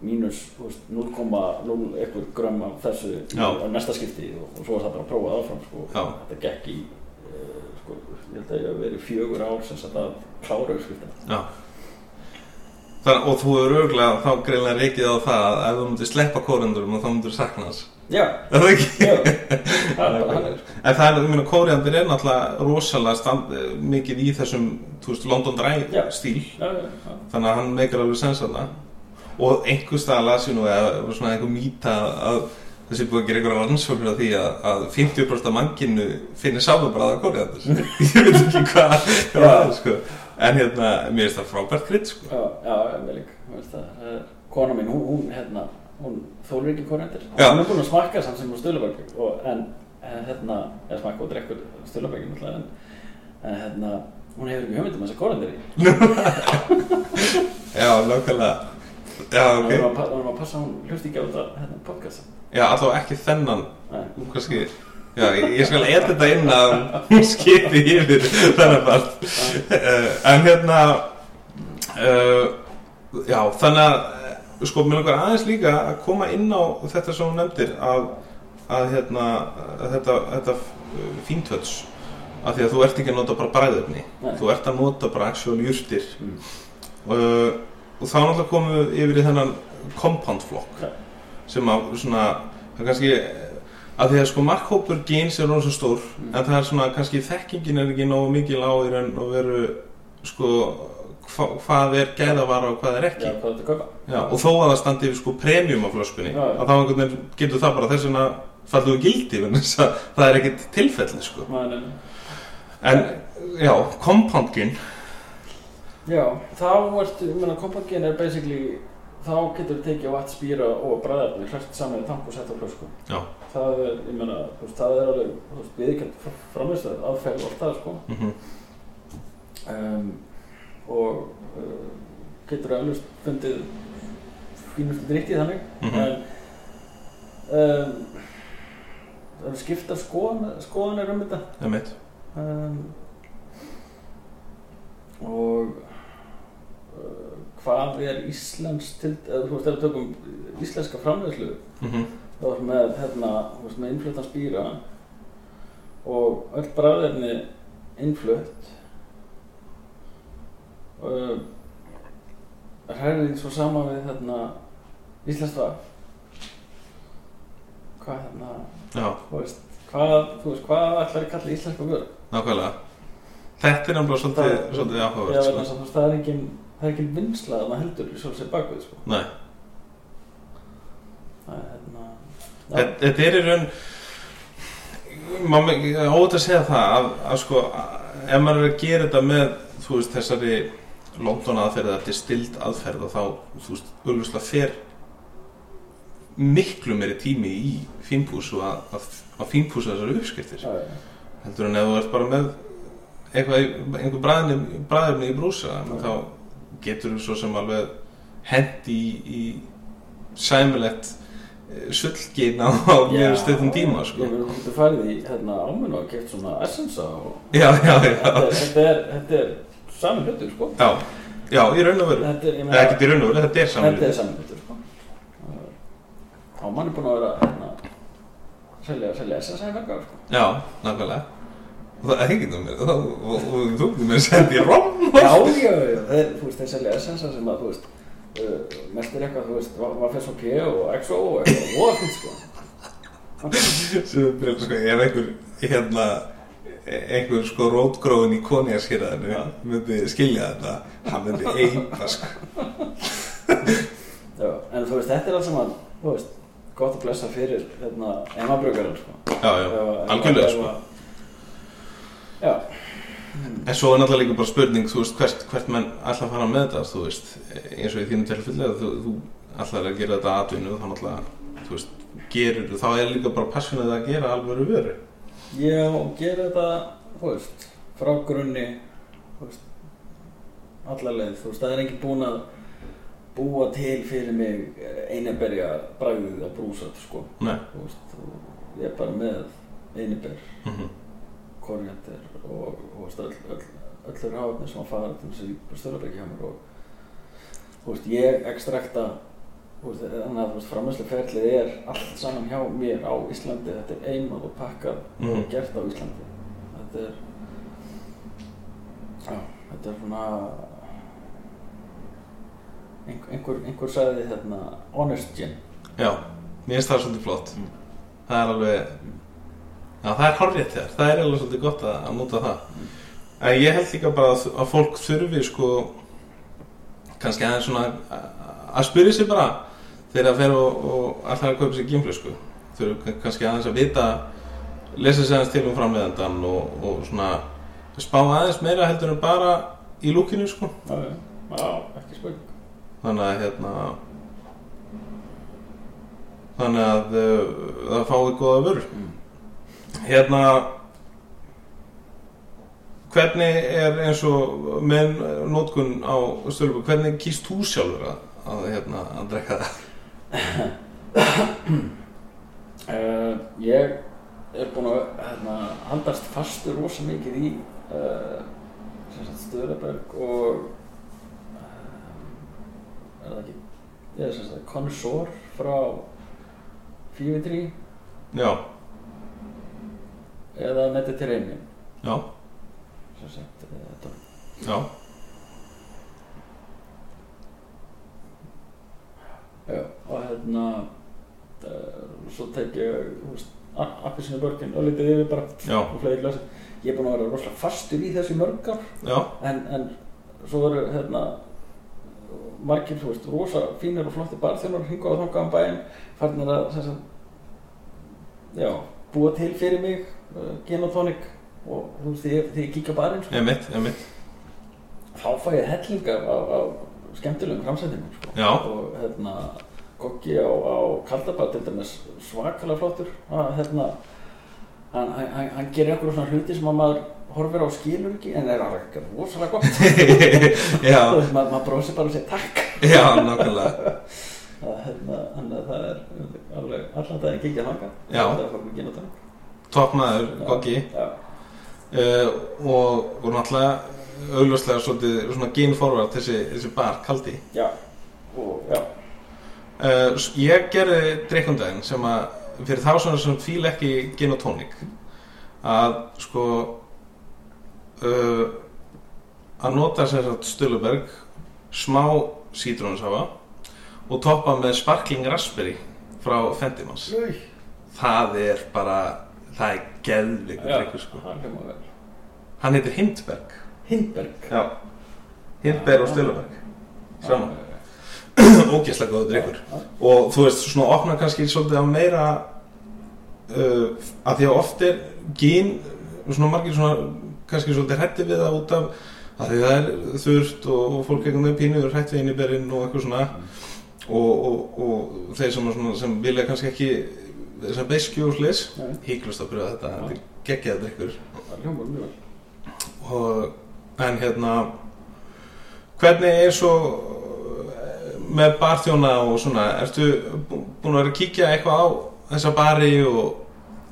Speaker 2: mínus, þú veist, 0,0 eitthvað grömm af þessu
Speaker 3: Já.
Speaker 2: á næsta skipti og, og svo var það bara að prófa það áfram, sko.
Speaker 3: Já.
Speaker 2: Þetta gekk í, uh, sko, ég held að ég hef verið fjögur ár sem sagt að klára auðskiptina.
Speaker 3: Já Þannig, og þú eru örgulega þá greinlega reikið á það að ef þú myndir sleppa kórendurum þá myndir sakna hans *laughs*
Speaker 2: Já,
Speaker 3: Er það ekki?
Speaker 2: já, það er bara hann, sko.
Speaker 3: En það er, ég meina, kórendur er náttúrulega rosalega stand, eh, mikið í þessum, þú veist, London Dry
Speaker 2: Já.
Speaker 3: stíl
Speaker 2: Já, já, já.
Speaker 3: Þannig að hann meikar alveg sens að Og einhver stað las ég nú eða var svona einhver mýta að þessi búið að gera einhverja rannsóknir á því að, að 50% af mannkinu finnir sáðabræða kóriðandur *laughs* ég veit ekki hvað hvað það er sko. en hérna, mér finnst það frábært krydd sko.
Speaker 2: Já, já, ég með líka, þú veist það, það er- kona mín, hún, hún hérna, hún þólur ekki korendir,
Speaker 3: Já.
Speaker 2: hún er búin að smakka samt sem hún stöðlabækju, og, en, en hérna, eða smakka og drekkur stöðlabækju náttúrulega, en, en hérna, hún hefur ekki um hugmyndum þess að korendir í,
Speaker 3: já, nákvæmlega já,
Speaker 2: okay. hún er
Speaker 3: Ah,
Speaker 2: að
Speaker 3: ok
Speaker 2: pa- hún er að passa, hún hlust ekki á þetta, hérna, podcast,
Speaker 3: já, allavega ekki þennan
Speaker 2: nei,
Speaker 3: kannski, já, ég ég skal eða þetta inn að hún skipi yfir þennan part uh, en hérna uh, já, þannig að eh, sko, mér langar aðeins líka að koma inn á þetta sem hún nefndir að, að hérna að þetta, þetta fíntöts af því að þú ert ekki að nota bara bræðurni
Speaker 2: Nei.
Speaker 3: þú ert að nota bara actual jurtir
Speaker 2: Mm.
Speaker 3: uh, og þá náttúrulega komum við yfir í þennan compound flokk
Speaker 2: Já.
Speaker 3: sem að svona það er kannski að því að sko markhópur gens er orðin svo stór
Speaker 2: Mm.
Speaker 3: en það er svona kannski þekkingin er ekki nógu mikil á í raun og veru sko hva, hvað er gæðavara og hvað er ekki
Speaker 2: já, hvað þetta kaupa,
Speaker 3: Já, og þó að það standi yfir sko premium á flöskunni
Speaker 2: Já, já.
Speaker 3: að þá einhvern veginn getur það bara þess vegna fallið úr gildi vegna þess að það er ekkert tilfelli sko
Speaker 2: maður, en,
Speaker 3: en já, compound gin
Speaker 2: já, þá ertu, ég meina, kompangin er basically, þá getur þú tekið vatn, spýra og bræðarni, hlust saman í tank og sett á flösku,
Speaker 3: já,
Speaker 2: það er, ég meina, þú veist, það er alveg, þú veist, viðkjönd framistæð, aðferð og allt það, sko.
Speaker 3: mm
Speaker 2: Um, og uh, getur eflust fundið fínustu drikki þannig,
Speaker 3: Mhm.
Speaker 2: en um, það eru skipta skoðan, skoðanir um þetta
Speaker 3: Það er mitt
Speaker 2: um, og uh, hvað er Íslands til, eða þú veist, ef við tökum íslenska framleiðslu
Speaker 3: mhm,
Speaker 2: þá erum með hérna, þú veist, með innfluttan spýra og öll bræðirni innflutt og hræðið svo sama við hérna íslenskt var hvað hérna
Speaker 3: Já,
Speaker 2: þú veist, hvað, þú veist, hvað ætlar að kalla íslenska vöru?
Speaker 3: nákvæmlega Þetta er náttúrulega svolítið,
Speaker 2: Það-
Speaker 3: svolítið
Speaker 2: Já,
Speaker 3: áhugavert
Speaker 2: vegna
Speaker 3: sko.
Speaker 2: þess að þú veist, það er engin, það er engin vinsla að maður heldur í sjálfsveit bakvið, sko.
Speaker 3: Nei,
Speaker 2: Það er hérna, Já.
Speaker 3: Þetta- þetta er í raun Má- ég er óvægt að segja það að, að sko, að- ef maður er að gera þetta með þú veist, þessari London aðferð þetta er stild aðferð og þá, þú veist, auðvitað fer miklu meiri tími í fínpús og að, að, að fínpúsa þessar uppskiptir
Speaker 2: það er,
Speaker 3: heldur en ef þú ert bara með eitthvað, í- einhver bræðinni, bræðinni í brúsa
Speaker 2: Já.
Speaker 3: þá getur þú svo sem alveg hent í, í sæmilegt sullgin á, á mjög
Speaker 2: um
Speaker 3: stöðum tíma sko.
Speaker 2: Ég meina, þú getur farið í, hérna, áminn og keft svona essensa og...
Speaker 3: já, já, já
Speaker 2: Þetta er, þetta er, þetta er sami hlutur, sko.
Speaker 3: já, já, í raun og veru
Speaker 2: Þetta er, ég
Speaker 3: eða ekkert í raun og veru, þetta er
Speaker 2: þetta
Speaker 3: samlíð
Speaker 2: er sami hlutur, sko. Uh, Ámann er búinn að vera, hérna, selja, selja essensa í veggar, sko.
Speaker 3: já, nákvæmlega og það er ekkert um mér og, og, og, og þú getur mér að senda í rom
Speaker 2: já, já, já, þeir, þú veist, þeir selja essensa sem að, þú veist, uh, mest er eitthvað, þú veist, var fyrst og P og XO og eitthvað, og fint, sko.
Speaker 3: sem er brjóð, sko, ef einhver hérna, e- einhver sko rótgróin í konjaskirðanu
Speaker 2: Já.
Speaker 3: myndi skilja þetta hann myndi eipa sko
Speaker 2: Já, en þú veist, þetta er allt saman, þú veist, gott að blessa fyrir hérna, emabröggarar, sko.
Speaker 3: já, já, algjörlega sko
Speaker 2: Já,
Speaker 3: en svo er náttúrulega líka bara spurning þú veist, hvert, hvert menn ætla að fara með þetta þú veist, eins og í þínum tilfellega þú, þú ætlar að gera þetta atvinnu þá náttúrulega, þú veist, gerur þá er líka bara passionið að gera alvöru vöru
Speaker 2: já, og gera þetta, þú veist, frá grunni, þú veist, alla leið, þú veist, það er enginn búinn að búa til fyrir mig einaberja bragðið að brúsa, sko.
Speaker 3: nei,
Speaker 2: Þú veist, og ég er bara með einaber,
Speaker 3: mm
Speaker 2: koriander og, og veist, öll, öll, öllur hafnir sem að fara til þessi störabæki hjá mér og þú veist, ég ekstrakta þú veist, þannig að framhersluferlið er allt saman hjá mér á Íslandi þetta er eimað og pakkað
Speaker 3: Mhm.
Speaker 2: og gert á Íslandi þetta er já, þetta er svona einhver, einhver, einhver sagði hérna honest gin
Speaker 3: já, mér finnst það svolítið flott það er alveg já, það er horrið þér, það er alveg svolítið gott að, að nota það en ég held líka bara að, að fólk þurfi sko kannski aðeins svona að, að spyrja sig bara þegar að fer og, og allar að kaupa sér gimlu sko þurfi kann- kannski aðeins að vita lesa sér aðeins til um framleiðandan og, og svona spá aðeins meira heldur en bara í lúkinu sko
Speaker 2: já, já, ekki spurning
Speaker 3: þannig að hérna þannig að uh, það fái góða vörur
Speaker 2: Mm.
Speaker 3: hérna hvernig er eins og með nótkun á stölubur, hvernig kýst þú sjálfur að, að, hérna, að drekka það
Speaker 2: Uh, ég er búinn að hérna, haldast fastur rosa mikið í uh, sem sagt Stöðraberg og uh, er það ekki ég er sem sagt konsor frá Fífitri
Speaker 3: já,
Speaker 2: eða Mediterranean
Speaker 3: já,
Speaker 2: sem sagt uh, þetta
Speaker 3: já,
Speaker 2: Já, og hérna uh, svo tek ég þú veist, appisinu börkin og litið yfir bara
Speaker 3: já,
Speaker 2: og fleiri glasi ég er búinn að vera rosa fastur í þessu mörgar
Speaker 3: já
Speaker 2: en, en svo eru hérna margir, þú veist, rosa fínir og flotti barþjónar hringa á þangaðan bæinn farnir að sem sagt, já, búa til fyrir mig uh, genotónik og þú veist, þegar ég, þegar ég kíkja á barinn sko,
Speaker 3: ég mitt, ég mitt,
Speaker 2: þá fæ ég hellingar á, á skemmtilegum framsættingum sko.
Speaker 3: já *laughs*
Speaker 2: og hérna Goggi á, á Kaldabad til dæmis svakalega flottur að, hérna, hann, hann, hann- hann gerir einhverjum svona hluti sem að maður horfir á og skilur ekki en er alveg rosalega
Speaker 3: *laughs*
Speaker 2: gott
Speaker 3: já,
Speaker 2: Þú veist, maður mað bróðsir bara og segir takk
Speaker 3: já, nákvæmlega
Speaker 2: Það, hérna, þannig að það er alveg allan daginn gengið að hanga
Speaker 3: Já.
Speaker 2: það er fólk með genotón
Speaker 3: toppnaður goggi
Speaker 2: já,
Speaker 3: uh, og, og náttúrulega augljóslega svolítið svona genforvart þessi, þessi bar kaldi
Speaker 2: já, og já,
Speaker 3: uh, s- ég gerði drikkundaginn sem að fyrir þá svona sem fíl ekki gin og tónik að sko uh, að nota sem sagt Stöluberg smá sítrónsafa og toppa með sparkling raspberry frá Fendimans
Speaker 2: slöi
Speaker 3: það er bara það er geðvikur drikkur sko
Speaker 2: hann hljóma vel
Speaker 3: hann heitir Hindberg
Speaker 2: Hindberg
Speaker 3: já. Hindberg og Stöluberg saman *clears throat* ógeðslega góður drikkur
Speaker 2: eh,
Speaker 3: og þú veist, svona opna kannski svolítið á meira uh, að því að oft er gín svona margir svona kannski svolítið hrætti við það út af að því það er þurft og, og fólk eitthvað með pínu er hrætt við inn í berinn og eitthvað svona og, og, og þeir sem, er svona, sem vilja kannski ekki þess að beiskju og slis
Speaker 2: Nei.
Speaker 3: híklust að pröfa þetta, þetta er geggjað drikkur
Speaker 2: hann hljóma mjög vel
Speaker 3: og, en hérna hvernig er svo eh, með barþjóna og svona ertu bú- búin að vera að kíkja eitthvað á þessa bari og,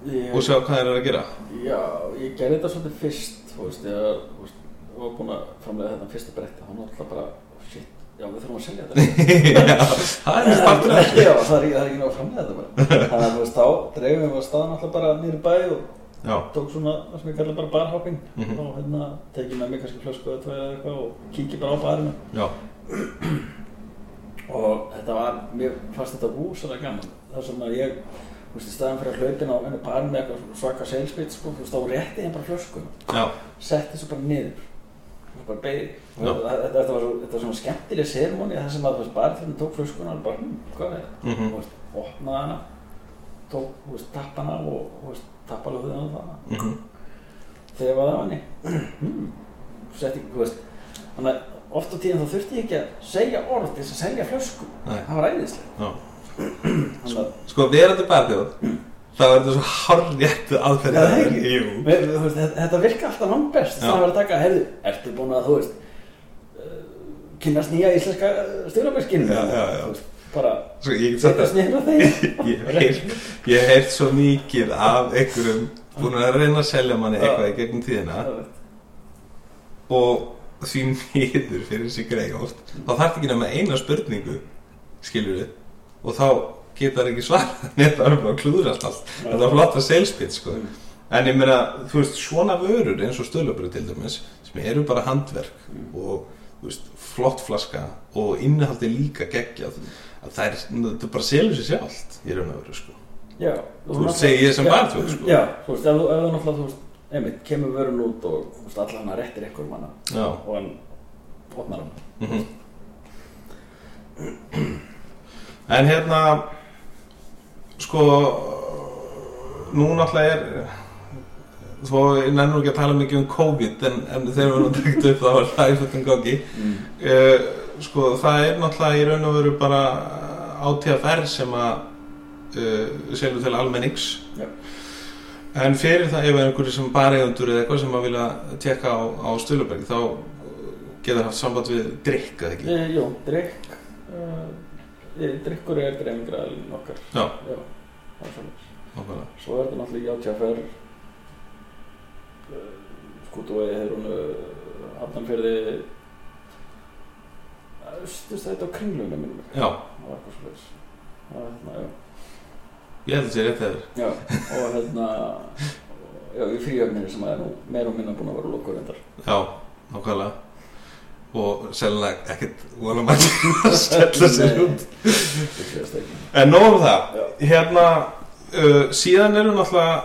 Speaker 2: Ég-
Speaker 3: og sjá hvað þeir eru að gera
Speaker 2: Já, ég gerði þetta svolítið fyrst, þú veist, ég var, þú veist, ég var búinn að framlega þetta fyrsta bretti, þá var náttúrulega bara, oh, shit, já, við þurfum að selja þetta.
Speaker 3: já, *laughs* það er mjög spartur
Speaker 2: Já, Já, það er, það er ekki náttúrulega að framlega þetta bara. Þannig að, þú veist, þá dreifum við að staða náttúrulega bara niður í bæ og
Speaker 3: já,
Speaker 2: tók svona, það sem ég kallar bara barhopping,
Speaker 3: Mhm.
Speaker 2: og hérna, tekið með mig kannski flösku eða tværi eða eitthvað og kíkið bara á barina.
Speaker 3: já,
Speaker 2: og þetta var, mér fannst þetta rúsalega gaman það sem að ég, þú veist, í staðan fyrir að hlaupin á hennu barn með eitthvað svona svaka seilspitt sko, þú veist, þá rétti ég bara flöskun
Speaker 3: já,
Speaker 2: setti þessu bara niður og bara beigði
Speaker 3: Já.
Speaker 2: þetta, þetta, var svo, þetta var svona skemmtileg sermóni það sem að þú veist, bara þegar hann tók flöskun og bara, hm, hvað er þetta
Speaker 3: Mhm.
Speaker 2: þú veist, opnaði hana tók, þú veist, tappana og, þú veist, tappaði húðina og það
Speaker 3: mm
Speaker 2: þegar ég var af henni *clears throat* hmm, setti, þú veist þannig að oft á tíðan þá þurfti ég ekki að segja orð til þess að selja flösku
Speaker 3: Nei.
Speaker 2: það var æðislega
Speaker 3: já
Speaker 2: þannig að
Speaker 3: sko verandi barþjóð þá er þetta svo harréttu
Speaker 2: Já, það er
Speaker 3: aðferðið
Speaker 2: ekki.
Speaker 3: jú,
Speaker 2: Mér- þú veist, þetta- þetta virka alltaf langt best
Speaker 3: Já.
Speaker 2: það verður að taka, heyrðu, ertu búin að þú veist eh, kynnast nýja íslenska eh, stjórnabjörskinu
Speaker 3: Já, já, já.
Speaker 2: bara
Speaker 3: sko ég get sagt
Speaker 2: setja
Speaker 3: það
Speaker 2: snýra
Speaker 3: *laughs*
Speaker 2: þeir
Speaker 3: ég hef heyrt- ég hef heyrt svo mikið af einhverjum búin að reyna að selja manni eitthvað í gegnum tíðina og því miður fyrir sig greið oft þá þarf ekki nema eina spurningu skilur við og þá getur ekki svarað *laughs* neitt það er bara að klúðrast allt þetta er flotta seilspitt sko en ég meina, þú veist, svona vörur eins og stölubröð til dæmis sem eru bara handverk og þú veist, flott flaska og innihaldi líka geggjað að það er, þetta bara selur sér sjálft í raun og veru sko
Speaker 2: já,
Speaker 3: Þú veist, segi ég sem
Speaker 2: Já,
Speaker 3: barþjóð, sko.
Speaker 2: já, þú veist, ef þú ef þú náttúrulega, þú veist, einmitt, kemur vörun út og þú veist, allan hana réttir einhverjum hana
Speaker 3: já
Speaker 2: og hann opnar hana
Speaker 3: Mhm. En hérna sko nú náttúrulega er þó ég nennur ekki að tala mikið um COVID en, en þegar við erum tækt upp þá er það í fötum gangi
Speaker 2: Mm.
Speaker 3: uh, sko það er náttúrulega í raun og veru bara átíðaferð sem að uh, selur til almennings
Speaker 2: Já.
Speaker 3: en fyrir það ef er einhverju sem bareigundur eða eitthvað sem að vilja tekka á, á Stölubergi þá eh, getur haft samband við drikk eða ekki
Speaker 2: e, jú, drikk uh, e, drikkur er dreifingraðin okkar
Speaker 3: Já.
Speaker 2: já, það er svolítið
Speaker 3: Nákvæmlega.
Speaker 2: Svo er þetta náttúrulega JTFR uh, Skútuvegi, Heyrúnu, eh, Hafnanfjörði Eh, Östustæti og Kringlunni minnum mig
Speaker 3: já,
Speaker 2: Það var eitthvað svo Það var hérna, já
Speaker 3: ég held að sé rétt þegar
Speaker 2: Já, og hérna Já, í fríöfninu sem er nú meira og minna búin að vera lokur endar
Speaker 3: já, nákvæmlega og seljanlega ekkert vona margir að *laughs* skella sér út
Speaker 2: Það séðast ekki
Speaker 3: en nóg um það
Speaker 2: Já,
Speaker 3: hérna, uh, síðan eru náttúrulega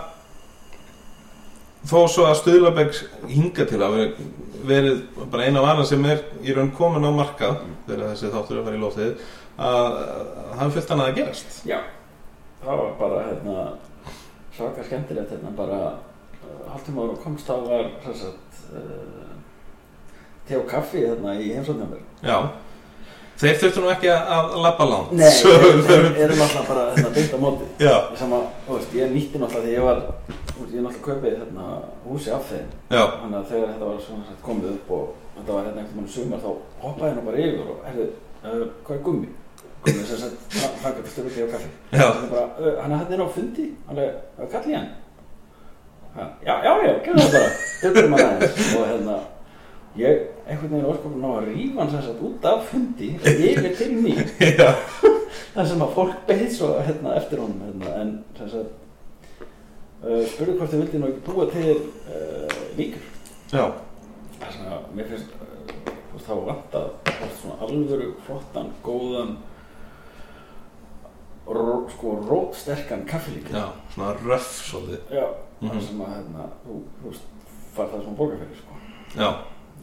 Speaker 3: þó svo að Stöðlabæk hinga til að verið, verið bara eina vana sem er í raun komin á markað þegar þessi þáttur er að fara í loftið að að hann fyllt hann að gerast
Speaker 2: já Það var bara, hérna Svaka skemmtilegt, hérna, bara Haltum ára og komst, það var sem sagt, uh, Te og kaffi, hérna, í heimsóknum
Speaker 3: já þeir þurftu nú ekki að, að labba langt *laughs*
Speaker 2: *laughs* Nei,
Speaker 3: Svo-
Speaker 2: þeir þeir eru náttúrulega bara hérna, beint á móti
Speaker 3: já,
Speaker 2: sem að, þú veist, ég nýtti náttúrulega því ég var þú veist, ég náttúrulega kaupið hérna, húsi af þeim
Speaker 3: já,
Speaker 2: þannig að þegar þetta var svona sagt komið upp og þetta var hérna einhvern veginn sumar þá hoppaði hérna bara yfir og herðu, uh, hvað er gummi? Gummi sem sagt, hann gæti stöðu ekki á kaffi
Speaker 3: já *laughs*
Speaker 2: hann er bara, uh, hann er hérna á fundi hann er, uh, kalli hann Ha, já, já, já, gerðu það bara Tökum að aðeins og hérna Ég, einhvern veginn orðskopum ná að rífa hann sem sagt út af fundi yfir til mín
Speaker 3: Já.
Speaker 2: þar sem að fólk beið svo hérna, eftir honum hérna, en sem sagt uh, spurði hvort þið vildi nú ekki búa til uh, líkur
Speaker 3: Já.
Speaker 2: þar sem að mér finnst uh, þú veist, þá vant að svona alvöru flottan, góðan ró, sko rótsterkan kaffelíkur
Speaker 3: Já, svona röf svolítið.
Speaker 2: Já,
Speaker 3: Mhm.
Speaker 2: þar sem að hérna, þú, þú veist, far það sem borgar fyrir sko.
Speaker 3: Já.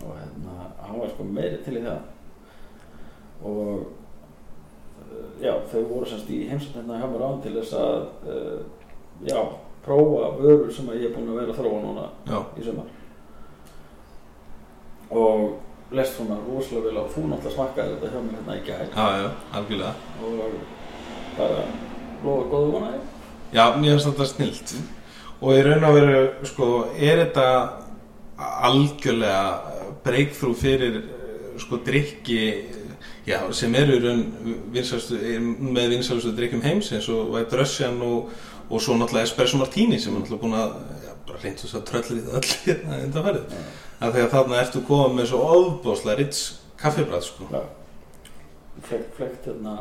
Speaker 2: og hérna, hann var sko meiri til í það og eh, já, þau voru semst í heimsætt hérna hjá mér án til þess að uh, já, prófa vörur sem að ég er búinn að vera að þróa núna
Speaker 3: Já.
Speaker 2: í sumar og lest svona rosalega vel á þú náttúrulega smakkaði þetta hjá mér hérna í gæð
Speaker 3: Já, já, algjörlega.
Speaker 2: og bara lofa góðu vonaði
Speaker 3: Já, mér finnst þetta snilt. Og í raun og veru, sko, er þetta algjörlega eh, breakthrough fyrir, eh, sko, drikki, já, sem eru í raun vinsalstu, með vinsalustu drikkjum heims eins og White Russian og, og svo náttúrulega Espresso Martini sem er náttúrulega búin að, já, bara reynd þess að tröllir í það öll hérna þetta verið. Af því að þarna ertu komið með svo ofbóðslega rits kaffibræð, sko.
Speaker 2: Já. Flekt, flekt hérna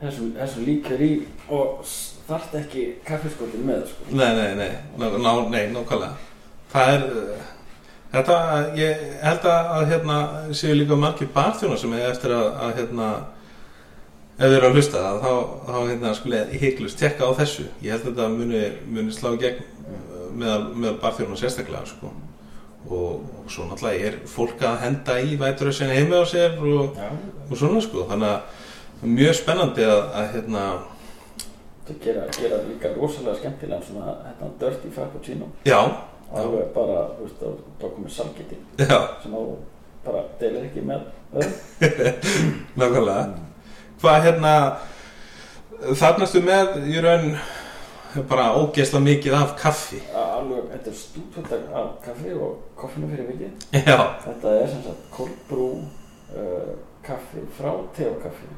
Speaker 2: þessum, þessum líkjör í og s- þarft ekki kaffiskotin með sko.
Speaker 3: Nei, nei, nei, ná, ná, nei, nákvæmlega Það er eh, Þetta, ég held að, að hérna, séu líka margir barþjónar sem hefur eftir að, að hérna, ef þið eru að hlusta það þá, þá hérna, skulle hygglust tekka á þessu ég held að þetta muni, muni slá í gegn eh, meðal, meðal barþjónar sérstaklega sko. og, og svo náttúrulega er fólk að henda í vætur að segja heimi á sér og,
Speaker 2: Já.
Speaker 3: og svona sko þannig að mjög spennandi að, að hérna,
Speaker 2: Það gera, gera líka rosalega skemmtilega svona hérna dirty frappuccino
Speaker 3: já, *laughs*
Speaker 2: alveg bara, þú veist, þá þá komið salgiti
Speaker 3: já
Speaker 2: sem á bara deilir ekki með öðrum.
Speaker 3: Nákvæmlega Hvað hérna Þarnastu með í raun bara ógeðsla mikið af kaffi
Speaker 2: Að alveg, þetta er stúdvöldar af kaffi og koffinu fyrir vikið
Speaker 3: Já,
Speaker 2: Þetta er sem sagt kolbrú uh, kaffi frá teokaffi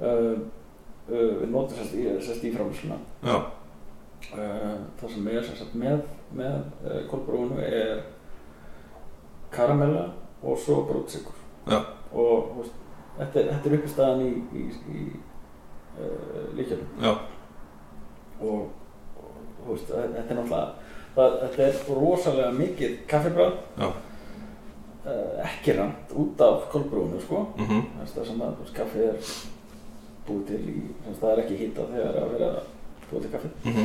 Speaker 2: uh, uh, við notum sérst í, sérst í framlýsuna
Speaker 3: já,
Speaker 2: uh, það sem er sem sagt með, með uh, kolbrúinu er karamella og svo brútsikur
Speaker 3: Já.
Speaker 2: og þú veist, þetta, er- þetta er uppistæðan í, í, í uh, líkjörnum
Speaker 3: já,
Speaker 2: og, og þú veist, þe- þetta er náttúrulega það, þetta er rosalega mikið kaffibráð
Speaker 3: Já.
Speaker 2: Eh, ekki rand út af kolbrúinu sko.
Speaker 3: mhm,
Speaker 2: Þú veist, það sem að þú veist, kaffið er búið til í, sem sagt, það er ekki hýtað þegar að vera að búið til kaffið
Speaker 3: mhm,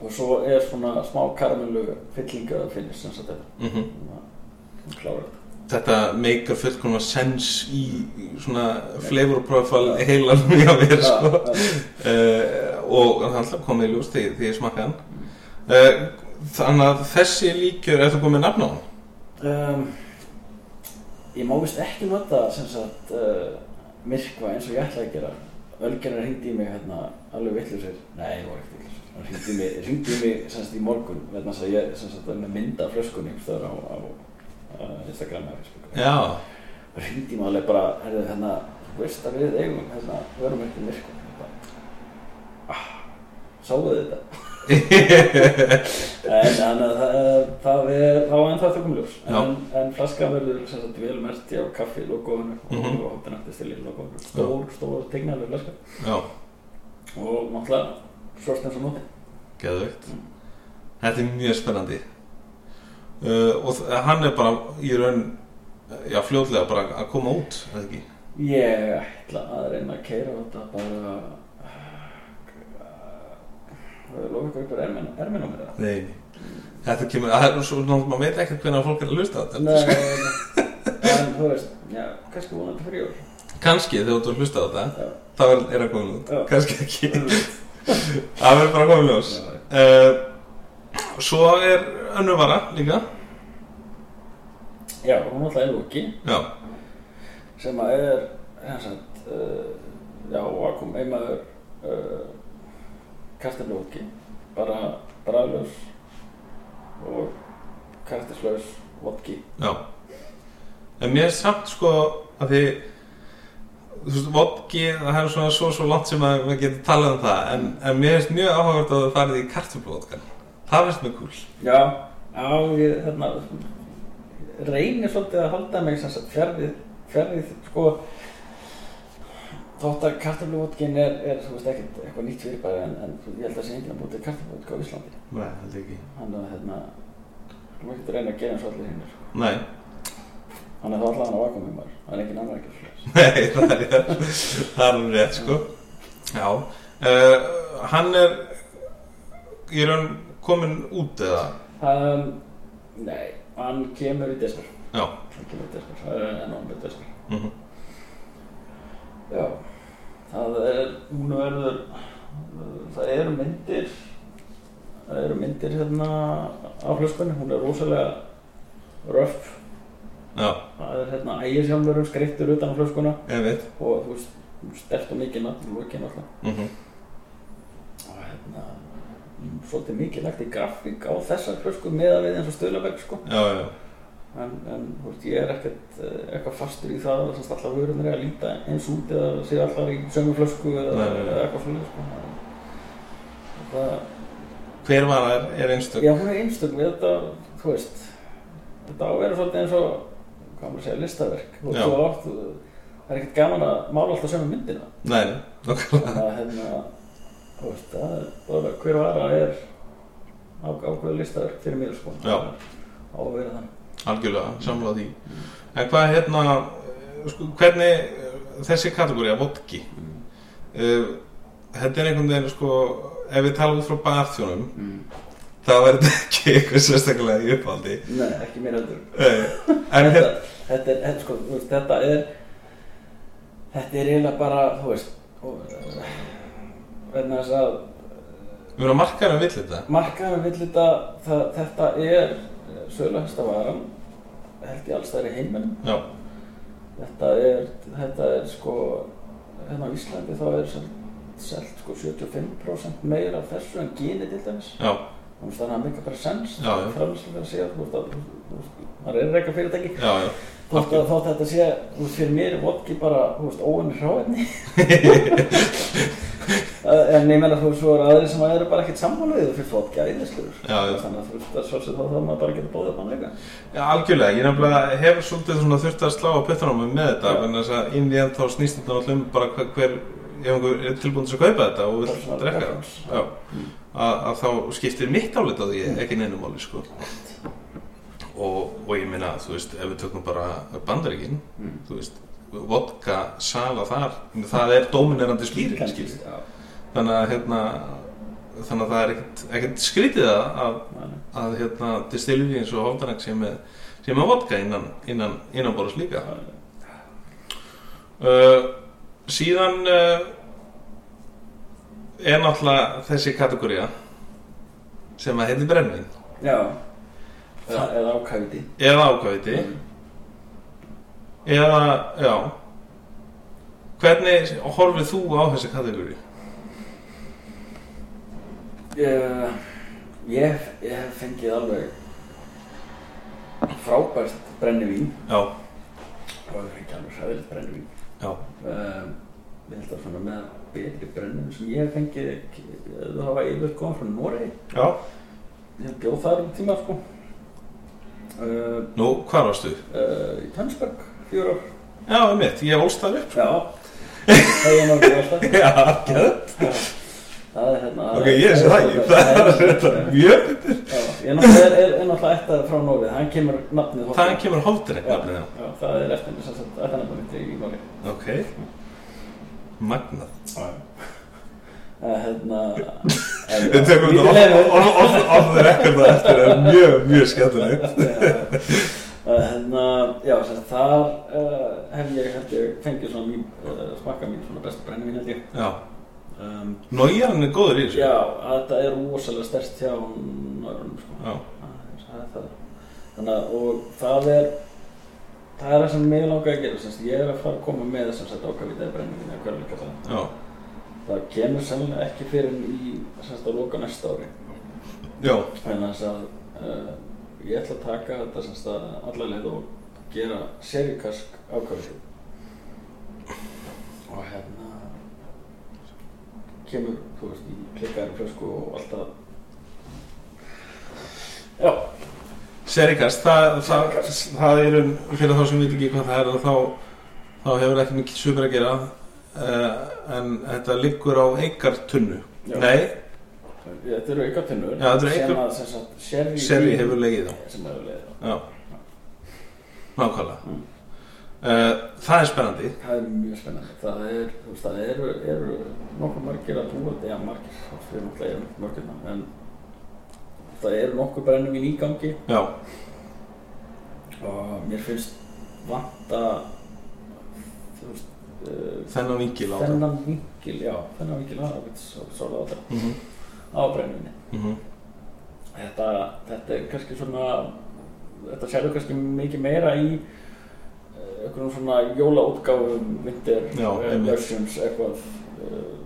Speaker 2: og svo er svona smá karamellu fyllinga að finnist sem sagt þetta
Speaker 3: mhm
Speaker 2: Þannig að hún klárar þetta
Speaker 3: Þetta meikar fullkomna sens í í svona flavor profile *laughs* heilan mjög að vera sko
Speaker 2: Já, já.
Speaker 3: uh, og hann alltaf komið í ljós því, því ég smakka hann uh, Þannig að þessi líkjör er það komið nafn á hann?
Speaker 2: um, ég má vist ekki nota sem sagt uh, myrkva eins og ég ætla að gera Ölgerinn hringdi í mig hérna alveg vittlusir Nei, ég var ekkert vittlusir Hann hringdi í mig, hringdi í mig sem sagt í morgun vegna þess að ég sem sagt var með mynda flöskunni einhvers staðar á, á, á Instagram eða Facebook
Speaker 3: Já,
Speaker 2: hringdi mig alveg bara, herðu hérna, þú veist að við eigum hérna, við erum ekki myrkur. Ah, sáuðu
Speaker 3: *laughs*
Speaker 2: þetta? en en það, það er, þá en það tökum um ljós.
Speaker 3: Já.
Speaker 2: En, en flaska verður sem sagt vel merti á kaffi logoðinu
Speaker 3: Mhm.
Speaker 2: og hóttinættistil í logoðinu. Stór, stór tegnaður flaska.
Speaker 3: já
Speaker 2: Og náttúrulega svort eins og nótt.
Speaker 3: Geðvögt Þetta er mjög spennandi uh, Og þ- hann er bara í raun Já, fljótlega bara að koma út eða ekki?
Speaker 2: Ég ætla að reyna að keira þetta bara... eh, Lofa ykkur ykkur ermin, ermin á mér það.
Speaker 3: Nei Þetta kemur, það er svo, ná, maður veit ekkert hvernig fólk er að hlusta á þetta
Speaker 2: Nei, en þú veist, já, kannski vonandi fyrir jól.
Speaker 3: Kanski þegar þú ert að hlusta á
Speaker 2: Já,
Speaker 3: þetta Það er- er að koma út,
Speaker 2: Já.
Speaker 3: kannski ekki *laughs* Það verður bara að koma í ljós uh, Svo er önnur vara líka
Speaker 2: já hún alltaf er Loki,
Speaker 3: Já,
Speaker 2: sem að er, hérna sagt, uh, já, að kom einmaður uh, Kartin Loki, bara bræðlaus og kartislaus vodki.
Speaker 3: já En mér er samt sko að því þú veist, vodki, það er svona svo svo langt sem að maður getur talað um það en, en mér finnst mjög áhugavert að það farið í kartöfluvodkan það finnst mér kúl
Speaker 2: Já, já, ég hérna, reynir svolítið að halda mig sem sagt fjarrið, fjarrið, sko, þótt að kartöfluvodkin er, er, þú veist, ekkert eitthvað nýtt fyrirbæri en, en ég held að sé enginn að búið til kartöfluvodka á Íslandi.
Speaker 3: Nei, held ekki
Speaker 2: Þannig að, hérna, þú maður getur reyna að gera eins og allir hinnir, sko.
Speaker 3: Nei, *laughs*
Speaker 2: Þannig að það allan að vaka mig maður, það er enginn annar ekki fyrir
Speaker 3: Nei það er rétt það er nú rétt sko Já, uh, hann er ég er hann komin út eða
Speaker 2: þess. Um, Nei, hann kemur í desember,
Speaker 3: Já,
Speaker 2: hann kemur í desember, það er enn ámlega desember.
Speaker 3: mhm
Speaker 2: Já, það er, hún verður, það eru myndir, það eru myndir hérna á flöskunni, hún er rosalega röf,
Speaker 3: já,
Speaker 2: það er hérna ægisjálfurinn skreittur utan á flöskuna
Speaker 3: ég veit
Speaker 2: og þú veist, stert og mikið náttúrulega, lókin alltaf.
Speaker 3: mhm
Speaker 2: Og hérna, mm, svolítið mikið lagt í grafík á þessar flösku meða við eins og stöðlaverk sko.
Speaker 3: Já, já,
Speaker 2: En, en þú veist, ég er ekkert eh, eitthvað fastur í það að semst alltaf vörunir er að líta eins út eða sé alltaf í sömu flösku eða,
Speaker 3: Nei, nei, nei.
Speaker 2: eða eitthvað svona sko. það,
Speaker 3: hver var það er einstök
Speaker 2: Já, hún er einstök við þetta, þú veist þetta á að vera svolítið eins og hvað maður að segja, listaverk og
Speaker 3: Já.
Speaker 2: þú átt, það er ekkert gaman að mála alltaf sömu
Speaker 3: *laughs*
Speaker 2: myndina
Speaker 3: Nei, nei, nokkulega
Speaker 2: þannig að hérna, þú veist, það er bara hver vara er á, ákveðu listaverk fyrir mér sko
Speaker 3: Já.
Speaker 2: á að vera þannig
Speaker 3: algjörlega, samlega því en hvað hérna eh, sko, hvernig eh, þessi kategóri að vodki
Speaker 2: Mm.
Speaker 3: uh, þetta er einhvern veginn sko ef við tala út frá barþjónum þá er þetta ekki eitthvað sérstaklega í upphaldi
Speaker 2: Nei, ekki mér heldur
Speaker 3: uh, en
Speaker 2: þetta,
Speaker 3: hérna
Speaker 2: þetta, er, þetta, sko, þú veist, þetta er þetta er eiginlega bara þú veist og, eh, vegna þess að
Speaker 3: við erum að marka hana vill þetta
Speaker 2: markaðum vill þetta það, þetta er sögulegsta varan held ég alls það er í heiminum
Speaker 3: já,
Speaker 2: þetta er, þetta er sko hérna á Íslandi þá er selt, selt sko 75% meira af þessu en gini til dæmis
Speaker 3: já,
Speaker 2: Þú veist, þannig að það er mikið bara sens
Speaker 3: Já, já.
Speaker 2: framlega að segja þú veist að þú veist, maður er reyka fyrirtæki
Speaker 3: já, já
Speaker 2: Þótt að þótt að þetta sé, þú veist, fyrir mér er vodki bara, þú veist, óunni
Speaker 3: *laughs*
Speaker 2: hráefni. Eh, en ég meina, þú veist, svo eru aðri sem eru bara ekkert sammálaðið og fyrir vodki að yfirskjörur.
Speaker 3: Já, já.
Speaker 2: Þannig að þú veist, að svo sem þá þá maður bara getur bóðið upp hann leika.
Speaker 3: Já, algjörlega, ég nefnilega hef svolítið svona þurft að slá á puttunum með þetta
Speaker 2: Já.
Speaker 3: en þess að inn í enn þá snýst þetta náttúrulega um bara hver, hver ef einhver er tilbúin til að kaupa þetta og vil
Speaker 2: Personal
Speaker 3: drekka
Speaker 2: preference.
Speaker 3: það Já, að, að þá skiptir mitt álit á því ekki neinu máli sko og, og ég minna, þú veist, ef við tökum bara bandaríkin,
Speaker 2: Mm.
Speaker 3: þú veist vodka, sala þar það er dóminerandi spýri skilur.
Speaker 2: Já.
Speaker 3: þannig að hérna þannig að það er ekkert, ekkert skrítið að, að
Speaker 2: Nei, nei.
Speaker 3: að hérna distilleri eins og Hofdanag sem er, sem er vodka innan, innan, innan boros líka uh, síðan uh, er náttúrulega þessi kategória sem að heiti brennvin
Speaker 2: Já. Eða, eða ákæfiti.
Speaker 3: eða ákvæði eða, já hvernig horfið þú á þessi kategóri?
Speaker 2: Ég, Eh, ég, ég hef fengið alveg frábært brennivín.
Speaker 3: já,
Speaker 2: Og ég hef fengið alveg sæðilegt brennivín.
Speaker 3: já,
Speaker 2: uh, ég held að svona með betri brennum sem ég hef fengið eh, það var yfir komað frá Noregi
Speaker 3: já
Speaker 2: ég bjóð þar um tíma sko uh,
Speaker 3: nú, hvað varstu?
Speaker 2: uh, í Tönnsberg fjóra ár.
Speaker 3: já, um mitt, ég ólst það upp
Speaker 2: já það er náttúrulega alltaf
Speaker 3: já, gett
Speaker 2: það er hérna
Speaker 3: ok, ég sé það ekki *laughs* það er þetta mjög
Speaker 2: Já, ég er náttúrulega er, er, er náttúrulega ættaður frá Noregi þannig kemur nafnið Hoffmann.
Speaker 3: Þaðan kemur hófdreng nafnið
Speaker 2: já,
Speaker 3: það.
Speaker 2: já, það er eftir þess að þetta nafnið mitt í Noregi
Speaker 3: Ok. Magnað.
Speaker 2: Það er hérna
Speaker 3: Við tökum þetta
Speaker 2: Lítið
Speaker 3: off- off- off the record það eftir það er mjög, mjög skemmtilegt.
Speaker 2: Þannig hérna, já, sem sagt, þar uh, hef ég held ég fengið svona mín, uh, smakka mín svona bestu brennivín held ég.
Speaker 3: Já.
Speaker 2: Um,
Speaker 3: Nójarinn er góður í þessu.
Speaker 2: já, að þetta er rosalega stert hjá nörðunum sko.
Speaker 3: Já.
Speaker 2: Það er- það er það. Þannig að, og það er, það er það sem mig langar að gera, sem sagt, ég er að fara að koma með þess að ákavitaði brennivín eða hverju líka það.
Speaker 3: Já.
Speaker 2: Það kemur sennilega ekki fyrir í, sem sagt, á loka næsta ári.
Speaker 3: Já.
Speaker 2: Þannig að uh, ég ætla að taka þetta sem stað allarleið og gera serikask ákvæðið. hérna kemur, þú veist, í klikkaðar flösku og alltaf Já,
Speaker 3: Serikast, það, það, það er um, fyrir þá sem við ekki hvað það er þá, þá hefur ekki mikið sumir að gera uh, en þetta liggur á eikartunnu
Speaker 2: Já.
Speaker 3: Nei,
Speaker 2: þetta eru aukatinnur
Speaker 3: Já, þetta eru
Speaker 2: sem
Speaker 3: auka-
Speaker 2: að sem sagt, Sherry,
Speaker 3: Sherry hefur legið á.
Speaker 2: sem hefur legið á.
Speaker 3: já Nákvæmlega
Speaker 2: Mm.
Speaker 3: uh, Það er spennandi
Speaker 2: Það er mjög spennandi Það er, þú veist, það eru, eru nokkuð margir að búa þetta, já margir það er náttúrulega mörgirna en það eru nokkuð brennum í nýgangi
Speaker 3: Já,
Speaker 2: og mér finnst vanta þú veist, uh,
Speaker 3: þennan vingil á það
Speaker 2: þennan vingil, já, þennan vingil aðra við svolítið á þetta
Speaker 3: mm -hmm.
Speaker 2: á brennunni.
Speaker 3: mhm,
Speaker 2: Þetta, þetta er kannski svona, þetta sérðu kannski mikið meira í eh, einhverjum svona jólaútgáfum, vinter,
Speaker 3: Já,
Speaker 2: eh,
Speaker 3: einmitt.
Speaker 2: versions, eitthvað. eh,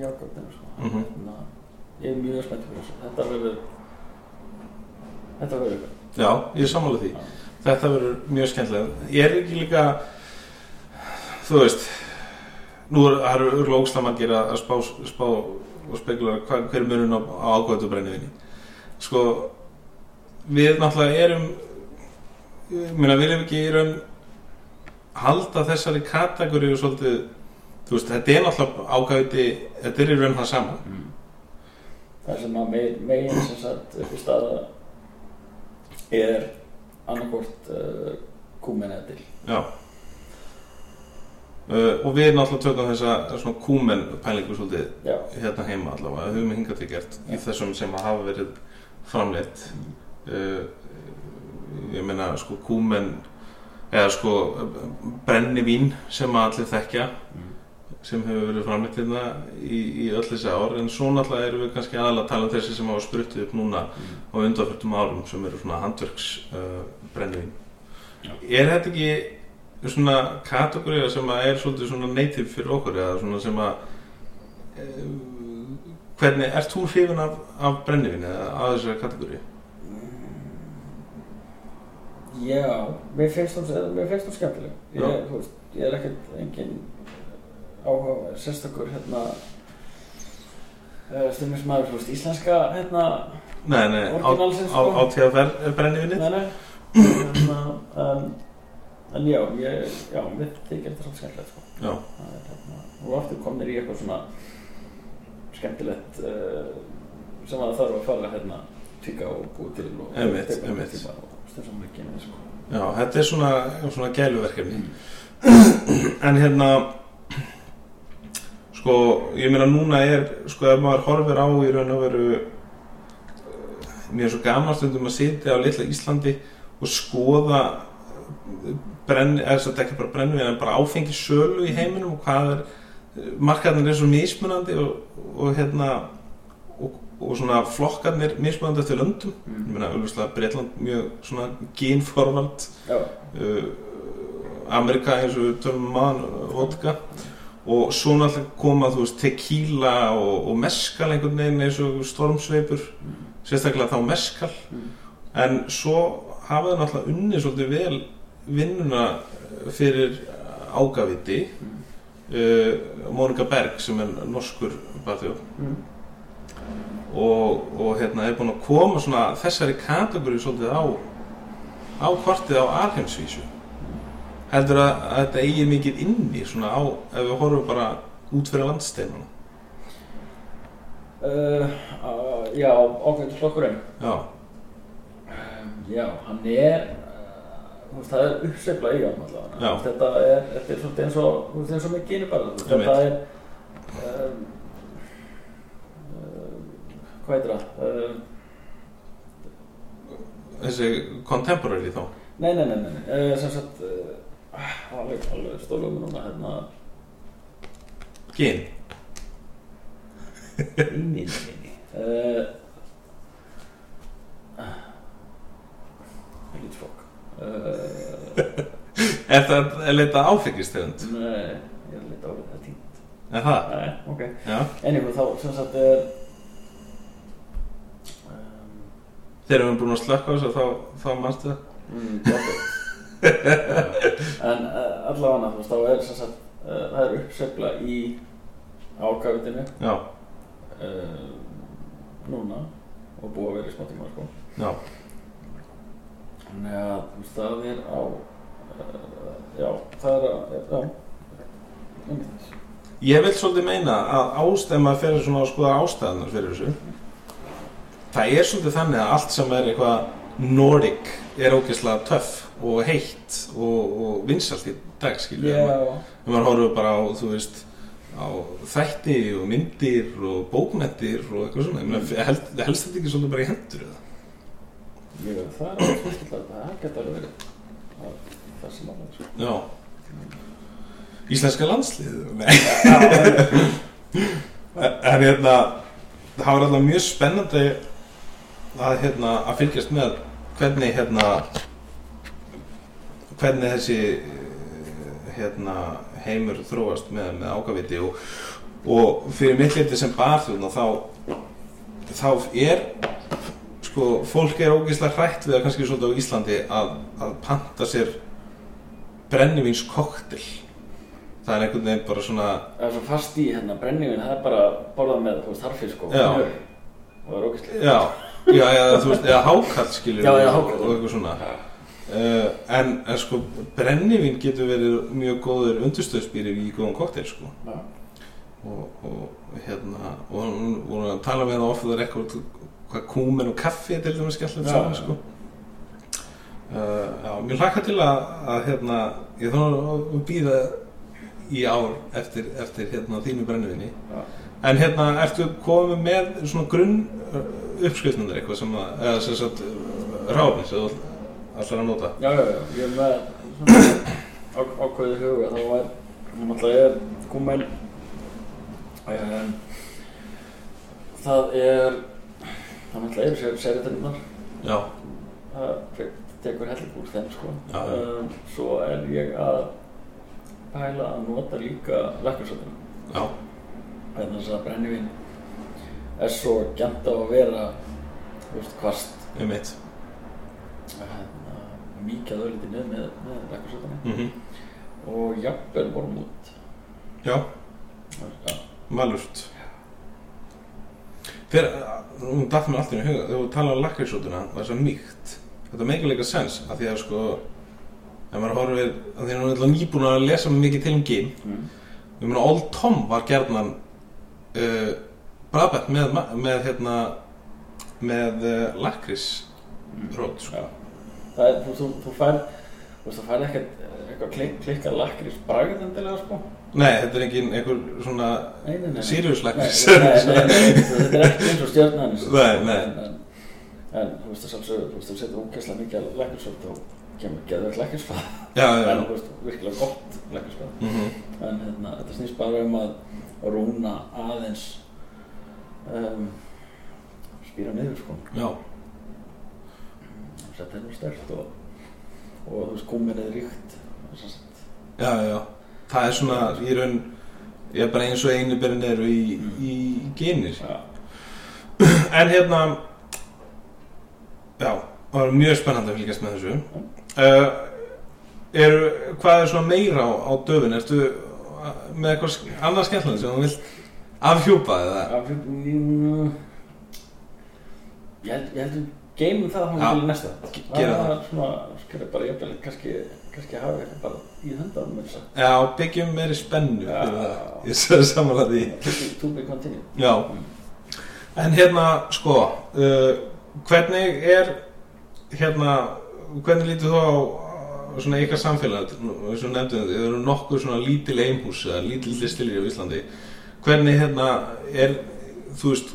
Speaker 2: Já, gott er sko.
Speaker 3: Mhm.
Speaker 2: Ná, ég er mjög spennt fyrir þessu. Þetta verður, þetta verður eitthvað.
Speaker 3: Já, ég er sammála því
Speaker 2: Já.
Speaker 3: Þetta verður mjög skemmtilega Ég er ekki líka Þú veist Nú er- það eru örgulega ógstam að gera að spá, spá og spekula hva- hver munun á, á ágætu brennivinni Sko Við náttúrulega erum Ég meina, við erum ekki í raun halda þessari kategoríu svolítið Þú veist, þetta er náttúrulega ágæti Þetta er í raun það saman
Speaker 2: Mm. Það sem að megin, megin sem sagt upp í staða er annarkvort uh, kúmen eða dill.
Speaker 3: Já uh, Og við náttúrulega tökum þessa svona kúmen pælingu svolítið
Speaker 2: Já,
Speaker 3: hérna heima allavega, höfum við hingað til gert í þessum sem að hafa verið framleitt uh, ég meina sko kúmen eða sko eh, brennivín sem að allir þekkja sem hefur verið framleitt hérna í, í öll þessi ár en svo náttúrulega erum við kannski aðalega að tala um þessi sem hafa spruttið upp núna á undanfjöldum árum sem eru svona handverks uh, brennivín
Speaker 2: Já.
Speaker 3: er þetta ekki svona kategóriða sem að er svolítið svona native fyrir okkur eða svona sem að eh, hvernig, ert þú hrifin af, af brennivín eða af þessari kategóri?
Speaker 2: Já, mér finnst hún, mér finnst hún skemmtileg. Ég,
Speaker 3: Já.
Speaker 2: þú veist, ég er ekkert engin áhuga sérstakur hérna uh, stundismæður, þú veist, íslenska hérna,
Speaker 3: Nei, nei, Eh, á,
Speaker 2: Orginalsins,
Speaker 3: á, á
Speaker 2: sko.
Speaker 3: TFR brennivínu?
Speaker 2: nei, nei.
Speaker 3: *clears throat*
Speaker 2: hérna, en, en já, ég, já, mér þykir þetta svolítið skemmtilegt, sko.
Speaker 3: Já,
Speaker 2: Það er hérna, og aftur komnir í eitthvað svona skemmtilegt uh, sem að þarf að fara hérna tíka og búi til og
Speaker 3: Einmitt,
Speaker 2: teipa og
Speaker 3: einmitt.
Speaker 2: klippa og stundum ekki með sko.
Speaker 3: já, þetta er svona, svona gæluverkefni *clears throat* en hérna sko, ég meina núna er sko, ef maður horfir á í raun og veru eh, mér er svo gaman stundum að sitja á litla Íslandi og skoða eh, brenn, eða þess að ekki bara brennu en bara áfengi sölu í heiminum og hvað er, eh, markarnir er svo mismunandi og, og hérna og, og svona flokkarnir mismunandi eftir löndum, ég meina auðvitað Breitland mjög svona genforvald
Speaker 2: Já,
Speaker 3: uh, Amerika eins og við tölum mann vodka og svo náttúrulega koma þú veist tequila og, og meskal einhvern veginn eins og stormsveipur sérstaklega þá meskal
Speaker 2: Mm.
Speaker 3: en svo hafa þau náttúrulega unni svolítið vel vinnuna eh, fyrir ágaviti
Speaker 2: Mm.
Speaker 3: uh, Monika Berg sem er norskur barþjóð
Speaker 2: mm.
Speaker 3: og, og hérna er búin að koma svona þessari kategóri svolítið á á kortið á alheimsvísu heldur að, að þetta eigi mikið inni svona á, ef við horfum bara út fyrir landsteinuna
Speaker 2: Uh, uh, já ákveðin flokkurinn
Speaker 3: já,
Speaker 2: um, Já, hann er uh, þú veist, það er uppsefla í hann
Speaker 3: Já.
Speaker 2: allavega Þetta er, þetta er svolítið eins og þú veist, eins og með gini bara þú veist,
Speaker 3: Einmitt.
Speaker 2: Þetta er um, uh, hvað heitir það? Um,
Speaker 3: þessi contemporary þá
Speaker 2: Nei, nei, nei, nei, nei. Uh, sem sagt uh, alveg, alveg stóla um núna hérna
Speaker 3: gin,
Speaker 2: í minni uh, ah, Lítið fokk uh,
Speaker 3: er það er leita áfengistegund
Speaker 2: Nei, ég er lítið árið það er tínt
Speaker 3: er það,
Speaker 2: Ah, Nei, ok
Speaker 3: já,
Speaker 2: Anyway, þá sem sagt eh, er um,
Speaker 3: þegar við erum búin að slökka þessu þá, þá mannstu það
Speaker 2: eh, Mm, gott. en uh, allavega þú veist, þá er sem sagt uh, það er uppsefla í ákafitinu
Speaker 3: já,
Speaker 2: uh, núna og búið að vera í smá tíma sko.
Speaker 3: já,
Speaker 2: Þannig að þú veist, það er á uh, já, það er á já, einmitt
Speaker 3: Ég vil svolítið meina að ástæma fyrir svona að skoða ástæðanar fyrir þessu Það er svolítið þannig að allt sem er eitthvað Nordic er ógeðslega töff og heitt og, og vinsalt í dag skilur við.
Speaker 2: Já,
Speaker 3: Ef maður horfður bara á, þú veist, á þætti og myndir og bókmettir og eitthvað svona mm. held, helst þetta ekki svolítið bara í hendur eða?
Speaker 2: ég veit það er alveg fyrst að það geta alveg verið það- það sem að það sko.
Speaker 3: Já Íslenska landsliðið? Nei En hérna Það var alltaf mjög spennandi að, hérna, að fylgjast með hvernig hérna hvernig þessi eh, hérna, heimur þróast með, með ágaviti og, og fyrir mitt liti sem barþjóðna þá, þá er sko, fólk er ógeðslega hrætt við að kannski svolítið á Íslandi að, að panta sér brennivins það er einhvern veginn bara svona
Speaker 2: það er svo fast í hérna brenningin það er bara að borða með þú veist harfisk og
Speaker 3: Já.
Speaker 2: smjör og það er ógæslega
Speaker 3: já, já, já þú veist, eða hákall skilur
Speaker 2: Já,
Speaker 3: við,
Speaker 2: já, hákarl.
Speaker 3: og eitthvað svona uh, en, en sko brennivin getur verið mjög góður undurstöðsbýri í góðum kokteil sko og, og hérna og hún voru að tala með það ofta eitthvað hvað kúmen og kaffi er til dæmis skellum
Speaker 2: Já,
Speaker 3: saman
Speaker 2: já.
Speaker 3: sko Uh, já, mér hlakka til að, að hérna, ég þá að býða í ár eftir, eftir hérna, þínu brennivinni En hérna, ertu komið með svona grunn uppskrifnundar eitthvað sem að, eða sem sagt ráðin sem þú allar að nota?
Speaker 2: Já, já, já, ég er með svona á- ákveðið huga þá var, hún alltaf er kúmen um, það er það alltaf eru sér seritinnar
Speaker 3: Já.
Speaker 2: það fe- tekur helling úr þeim sko
Speaker 3: Já, já.
Speaker 2: um, svo er ég að pæla að nota líka lakkarsöndina
Speaker 3: Já.
Speaker 2: þannig að það brennivín er svo gæmt á að vera þú veist, hvast
Speaker 3: Um mitt.
Speaker 2: hérna, mikið öllítið niður með, með lakkarsöndina
Speaker 3: Mm
Speaker 2: og jafnvel vorum út
Speaker 3: Já.
Speaker 2: já,
Speaker 3: Malurt. Þegar, nú uh, datt mér alltaf í huga, þegar þú talaði um lakrísótuna, það er svo mýkt. Þetta meikir leika sens, að því að sko, ef maður horfir, að því að nú er alltaf nýbúin að lesa mikið til um gym,
Speaker 2: mm.
Speaker 3: Ég meina, Old Tom var gerðnan uh, brabett með, ma- með hérna með uh, lakrís rót, sko.
Speaker 2: Já. það er, þú, þú, þú fær þú veist, þú fær ekkert eh, eitthvað klik, klikkað lakrís bragð endilega sko
Speaker 3: Nei, þetta er engin einhver svona
Speaker 2: nei, nei, nei, nei.
Speaker 3: Sirius lakrís.
Speaker 2: nei, nei, nei, nei, nei, þetta er ekki eins og stjörnan
Speaker 3: Nei, nei.
Speaker 2: en, en, en þú veist, þú, þú, veist, þú setur ógeðslega mikið lakrísöld og kemur geðvegt lakrísfað
Speaker 3: *laughs* Já, já, já.
Speaker 2: en þú veist, virkilega gott sko. lakrísfað
Speaker 3: Mm
Speaker 2: en hérna, þetta snýst bara um að rúna aðeins um, spýra niður sko
Speaker 3: Já,
Speaker 2: þetta er nú stert og, og þú veist, gúmið er ríkt sem sagt.
Speaker 3: já, já. Það er svona í raun, ég er bara eins og einu berin eru í,
Speaker 2: Mm.
Speaker 3: í genir.
Speaker 2: já,
Speaker 3: En hérna, já, það var mjög spennandi að fylgjast með þessu. Uh, eru, hvað er svona meira á, á döfin? Ertu uh, með eitthvað sk- annað skemmtilega sem þú vilt afhjúpa eða?
Speaker 2: af, mm, ég held ég held við geymum það þá
Speaker 3: Já,
Speaker 2: til í næsta
Speaker 3: ge-
Speaker 2: Það-
Speaker 3: gera
Speaker 2: það er svona, skilja bara jafnvel kannski, kannski hafa þetta bara í höndanum eins
Speaker 3: *laughs*
Speaker 2: og
Speaker 3: Já, byggjum meiri spennu
Speaker 2: Já.
Speaker 3: fyrir það. Ég sagði samanlega því.
Speaker 2: to be continued
Speaker 3: Já. En hérna, sko, uh, hvernig er, hérna, hvernig lítið þú á á svona ykkar samfélag, nú, eins og nefndum þið, þið eru nokkuð svona lítil einhús eða lítil listilir á Íslandi. Hvernig hérna er, þú veist,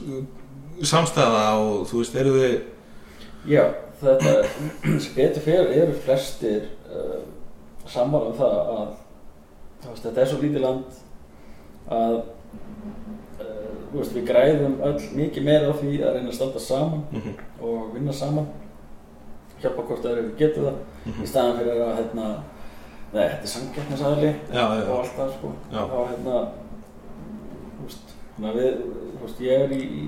Speaker 3: samstæða og þú veist, eru þið,
Speaker 2: já, þetta *clears throat* sem betur fyrir eru flestir uh, sammála um það að þú veist, þetta er svo lítið land að uh, þú veist, við græðum öll mikið meira á því að reyna að standa saman og vinna saman hjálpa hvort öðru ef við getum það
Speaker 3: Mhm.
Speaker 2: í staðan fyrir að hérna, nei, þetta er samkeppnisaðli
Speaker 3: já, já,
Speaker 2: og allt það sko
Speaker 3: Já.
Speaker 2: þá hérna þú veist, þannig að við, þú veist, ég er í í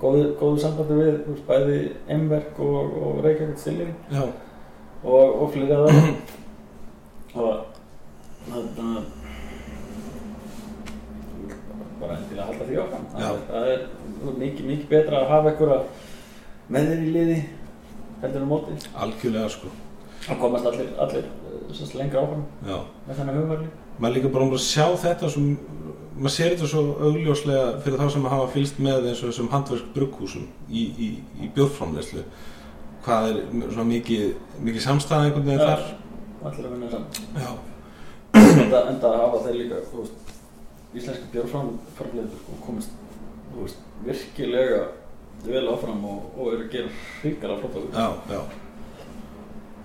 Speaker 2: góðu, góðu sambandi við þú veist, bæði Emverk og, og Reykjavík Stilleri
Speaker 3: já,
Speaker 2: og, og fleiri að það og hérna mikið, mikið betra að hafa einhverja með þeir í liði heldur en á móti
Speaker 3: algjörlega sko
Speaker 2: og komast allir, allir eh, sem sagt, lengra áfram
Speaker 3: já.
Speaker 2: með þannig hugmörli
Speaker 3: maður líka bara um að sjá þetta sem, maður sér þetta svo augljóslega fyrir þá sem hafa fylgst með eins og þessum handverk brugghúsum í, í, í bjórframleyslu hvað er svona mikið, mikið samstæða einhvern veginn þar
Speaker 2: allir að vinna saman
Speaker 3: já,
Speaker 2: enda, enda hafa þeir líka þú veist, íslenska björnframleitur og komist þú veist, virkilega vel áfram og, og eru að gera hrigalega flott á
Speaker 3: já, já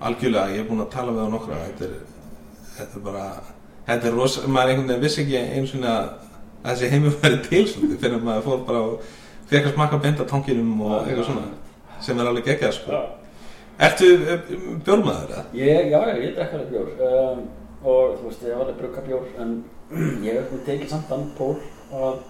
Speaker 3: algjörlega, ég er búinn að tala við á nokkra þetta er, þetta er bara þetta er rosa, maður einhvern veginn vissi ekki einu sinni að að þessi heimur *laughs* væri til svolítið fyrir maður fór bara og fekk að smakka benda tanginum og eitthvað svona sem er alveg geggjað sko
Speaker 2: Já.
Speaker 3: Ertu eh, bjórmaður eða?
Speaker 2: Ég, já, já, ég drekk alveg bjór um, og þú veist, ég var alveg að brugga bjór en *clears throat* ég hef nú tekið samt annan pól að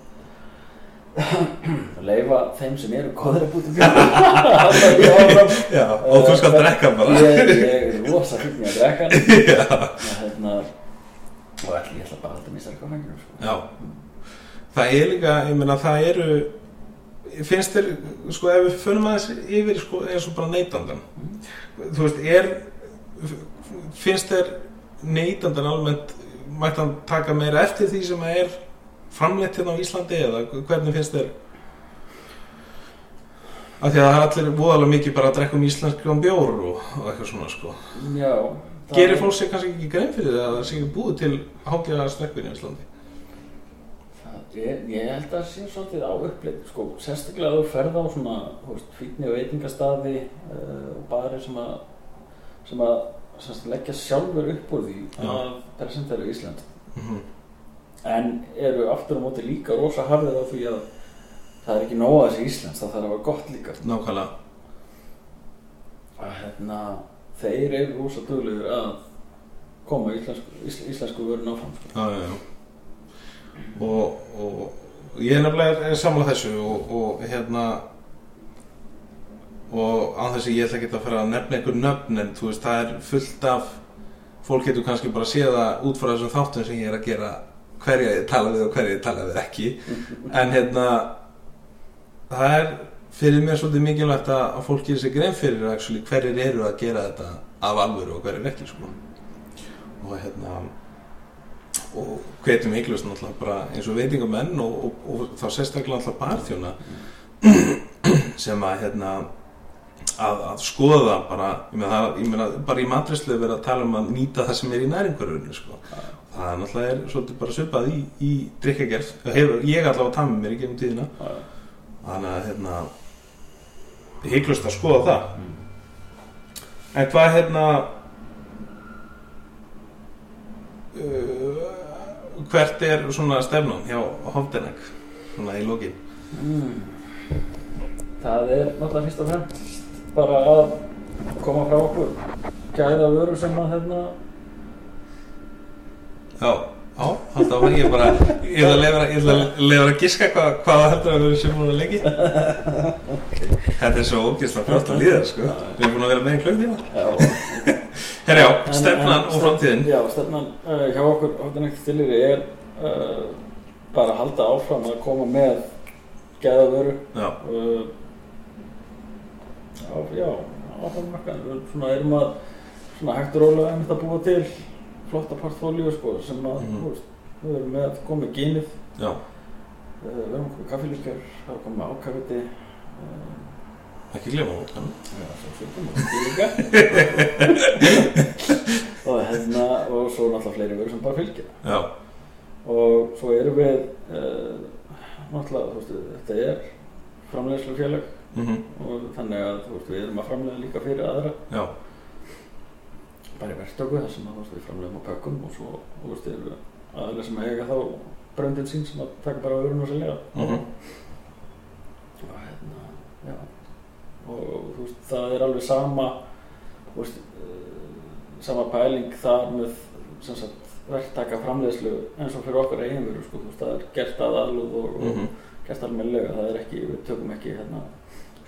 Speaker 2: *clears throat* leifa þeim sem eru góður að búti bjór Halda því áfram.
Speaker 3: Já, og þú skal
Speaker 2: Eh,
Speaker 3: drekka bara
Speaker 2: Ég, ég er rosa fyrir mér að drekka hann.
Speaker 3: Já,
Speaker 2: og hérna og ætli ég ætla bara að halda mér sérka fengur sko.
Speaker 3: já Það er líka, ég meina það eru finnst þér, sko ef við fönum aðeins yfir sko, eins og bara neytandan þú veist, er finnst þér neytandan almennt, mætti hann taka meira eftir því sem að er framleitt hérna á Íslandi eða hvernig finnst þér af því að það er allir voðalega mikið bara að drekka um íslenskan bjór og, og eitthvað svona sko
Speaker 2: Já það-
Speaker 3: Gerir fólk sér kannski ekki grein fyrir það að það sé ekki búið til hágæða snökkvinni í Íslandi?
Speaker 2: Það- Ég, ég held að það sé svolítið á upplið, sko, sérstaklega að þú ferð á svona, þú veist, fítni og veitingastaði eh, og bari sem að, sem að sem sagt, leggja sjálfur upp úr því
Speaker 3: Já.
Speaker 2: að presentera Ísland.
Speaker 3: Mm -hmm.
Speaker 2: En eru aftur á móti líka rosa harðir á því að það er ekki nóg að þessi Íslands, það þarf að vera gott líka.
Speaker 3: Nákvæmlega.
Speaker 2: Að hérna, þeir eru rosa duglegur að koma íslensku, ísl, íslensku vörun áfram, sko.
Speaker 3: Já, já, já. Og, og ég er nefnilega samla þessu og, og hérna og án þess að ég ætla ekki að fara að nefna einhver nöfn en þú veist það er fullt af fólk getur kannski bara að sé það út frá þessum þáttum sem ég er að gera hverja ég tala við og hverja ég tala við ekki
Speaker 2: sko.
Speaker 3: en hérna það er fyrir mér svolítið mikilvægt að, að fólk gerir sér grein fyrir actually, hverjir eru að gera þetta af alvöru og hverjir ekki sko. og hérna og hvetjum eiglust náttúrulega bara eins og veitingamenn og, og, og þá sérstaklega náttúrulega barþjóna *clears throat* sem að hérna að, að skoða bara ég meina, það- ég meina bara í matrislu verið að tala um að nýta það sem er í næringurunni sko. það er náttúrulega er svolítið bara svipað í, í drikkagerð, hefur ég allavega tafði mér í gegnum tíðina
Speaker 2: Já,
Speaker 3: þannig að hérna hygglust að skoða það en hvað hérna uh, hvert er svona stefnum hjá Hofdenek svona í lokin
Speaker 2: Mm. Það er náttúrulega fyrst og fremst bara að koma frá okkur gæða vöru sem að hérna
Speaker 3: já, já, haldið á ég bara ég ætla að leyfa- ég ætla að lefra að giska hvað, hvað það heldur að við séum múin að leiki þetta er svo ógist að frjótt að líða sko. við erum búin að vera með í klögtíma herra já,
Speaker 2: En- en-
Speaker 3: stefnan og framtíðin
Speaker 2: Já, stefnan uh, hjá okkur hóttan ekkert stillir er uh, bara að halda áfram að koma með gæða vöru
Speaker 3: já,
Speaker 2: uh, Já, já, áfram markaðan við svona erum að svona hægt og rólega einmitt að búa til flotta portfólíu sko sem að,
Speaker 3: Mhm.
Speaker 2: þú veist, við erum með að koma með gínið
Speaker 3: já,
Speaker 2: Eh, Við erum komið kaffilíkjör, við erum komið ákafiti
Speaker 3: ekki glemma hún
Speaker 2: Já, svo fylgum við líka Og hérna, og svo náttúrulega fleiri vörur sem bara fylgja
Speaker 3: já,
Speaker 2: Og svo erum við, uh, náttúrulega, þú veist, þetta er framleiðslufélag
Speaker 3: mhm
Speaker 2: Og þannig að, þú veist, við erum að framleiða líka fyrir aðra
Speaker 3: Já,
Speaker 2: Bara í verktöku þar sem að, þú veist, við framleiðum á pökkum Og svo, þú veist, eru aðra sem eiga þá bröndin sín sem að taka bara vörun og selja
Speaker 3: mhm,
Speaker 2: og hérna, já og þú veist, það er alveg sama þú veist, eh, sama pæling þar með sem sagt, verktaka framleiðslu eins og fyrir okkar eiginveru, sko, þú veist, það er gert að aðlúð og,
Speaker 3: mhm,
Speaker 2: og gert almennilega það er ekki, við tökum ekki hérna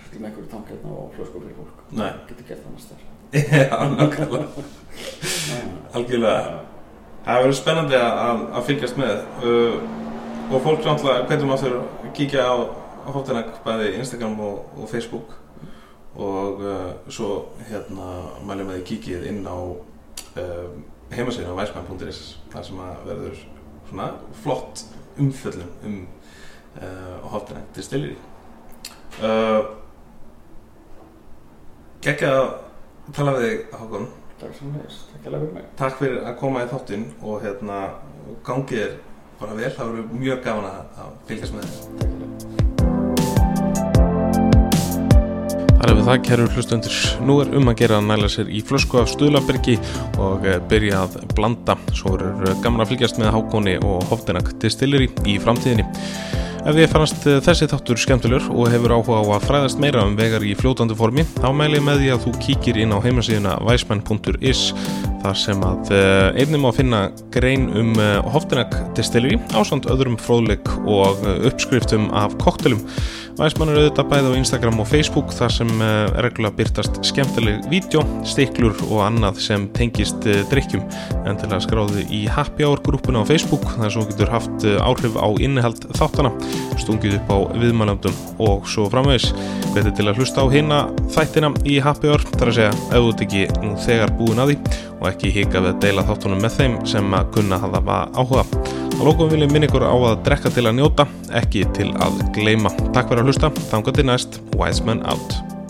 Speaker 2: fyllum einhverju tank hérna og flösku fyrir fólk
Speaker 3: nei, *laughs*
Speaker 2: getur gert annars þar
Speaker 3: já, nákvæmlega, algjörlega, það verður spennandi að, að- að fylgjast með uh, og fólk náttúrulega, hvernig maður þurfa að kíkja á hóttanakk bæði Instagram og, og Facebook og uh, svo hérna mælum við kíkið inn á uh, heimasíðan á væsmann.is þar sem að verður svona flott umföllum um uh, hóttanakk til stilir uh, Gekka að tala við þig Hákon
Speaker 2: Takk sem leist, ekki alveg fyrir mig.
Speaker 3: Takk fyrir að koma í þáttinn og hérna gangið er bara vel, það verður mjög gaman að að fylgjast með þér.
Speaker 2: Takk fyrir.
Speaker 1: Það er við það, kæru hlustundur. Nú er um að gera að næla sér í flösku af Stuðlabergi og eh, byrja að blanda. Svo er eh, gaman að fylgjast með Hákóni og Hofdinak Distillery í framtíðinni. Ef því fannst eh, þessi þáttur skemmtilegur og hefur áhuga á að fræðast meira um vegar í fljótandi formi, þá mæli ég með því að þú kíkir inn á heimasíðuna weismann.is þar sem að eh, einnig má finna grein um Hofdinak Distillery ásamt öðrum fróðleik og eh, uppskriftum af koktelum Væsmann er auðvitað bæði á Instagram og Facebook þar sem eh, reglulega byrtast skemmtileg vídeo, stiklur og annað sem tengist eh, drykkjum en til að skráðu í Happy Hour grúppuna á Facebook þar sem þú getur haft eh, áhrif á innihald þáttana, stungið upp á viðmælendum og svo framvegis Þetta til að hlusta á hina þættina í Happy Hour, þar að segja ef þú ert ekki nú þegar búin að því og ekki hika við að deila þáttunum með þeim sem að kunna að hafa áhuga Að lókum vil ég minna ykkur á að drekka til að njóta, ekki til að gleyma. Takk fyrir að hlusta, þangar til næst, Wise Men Out.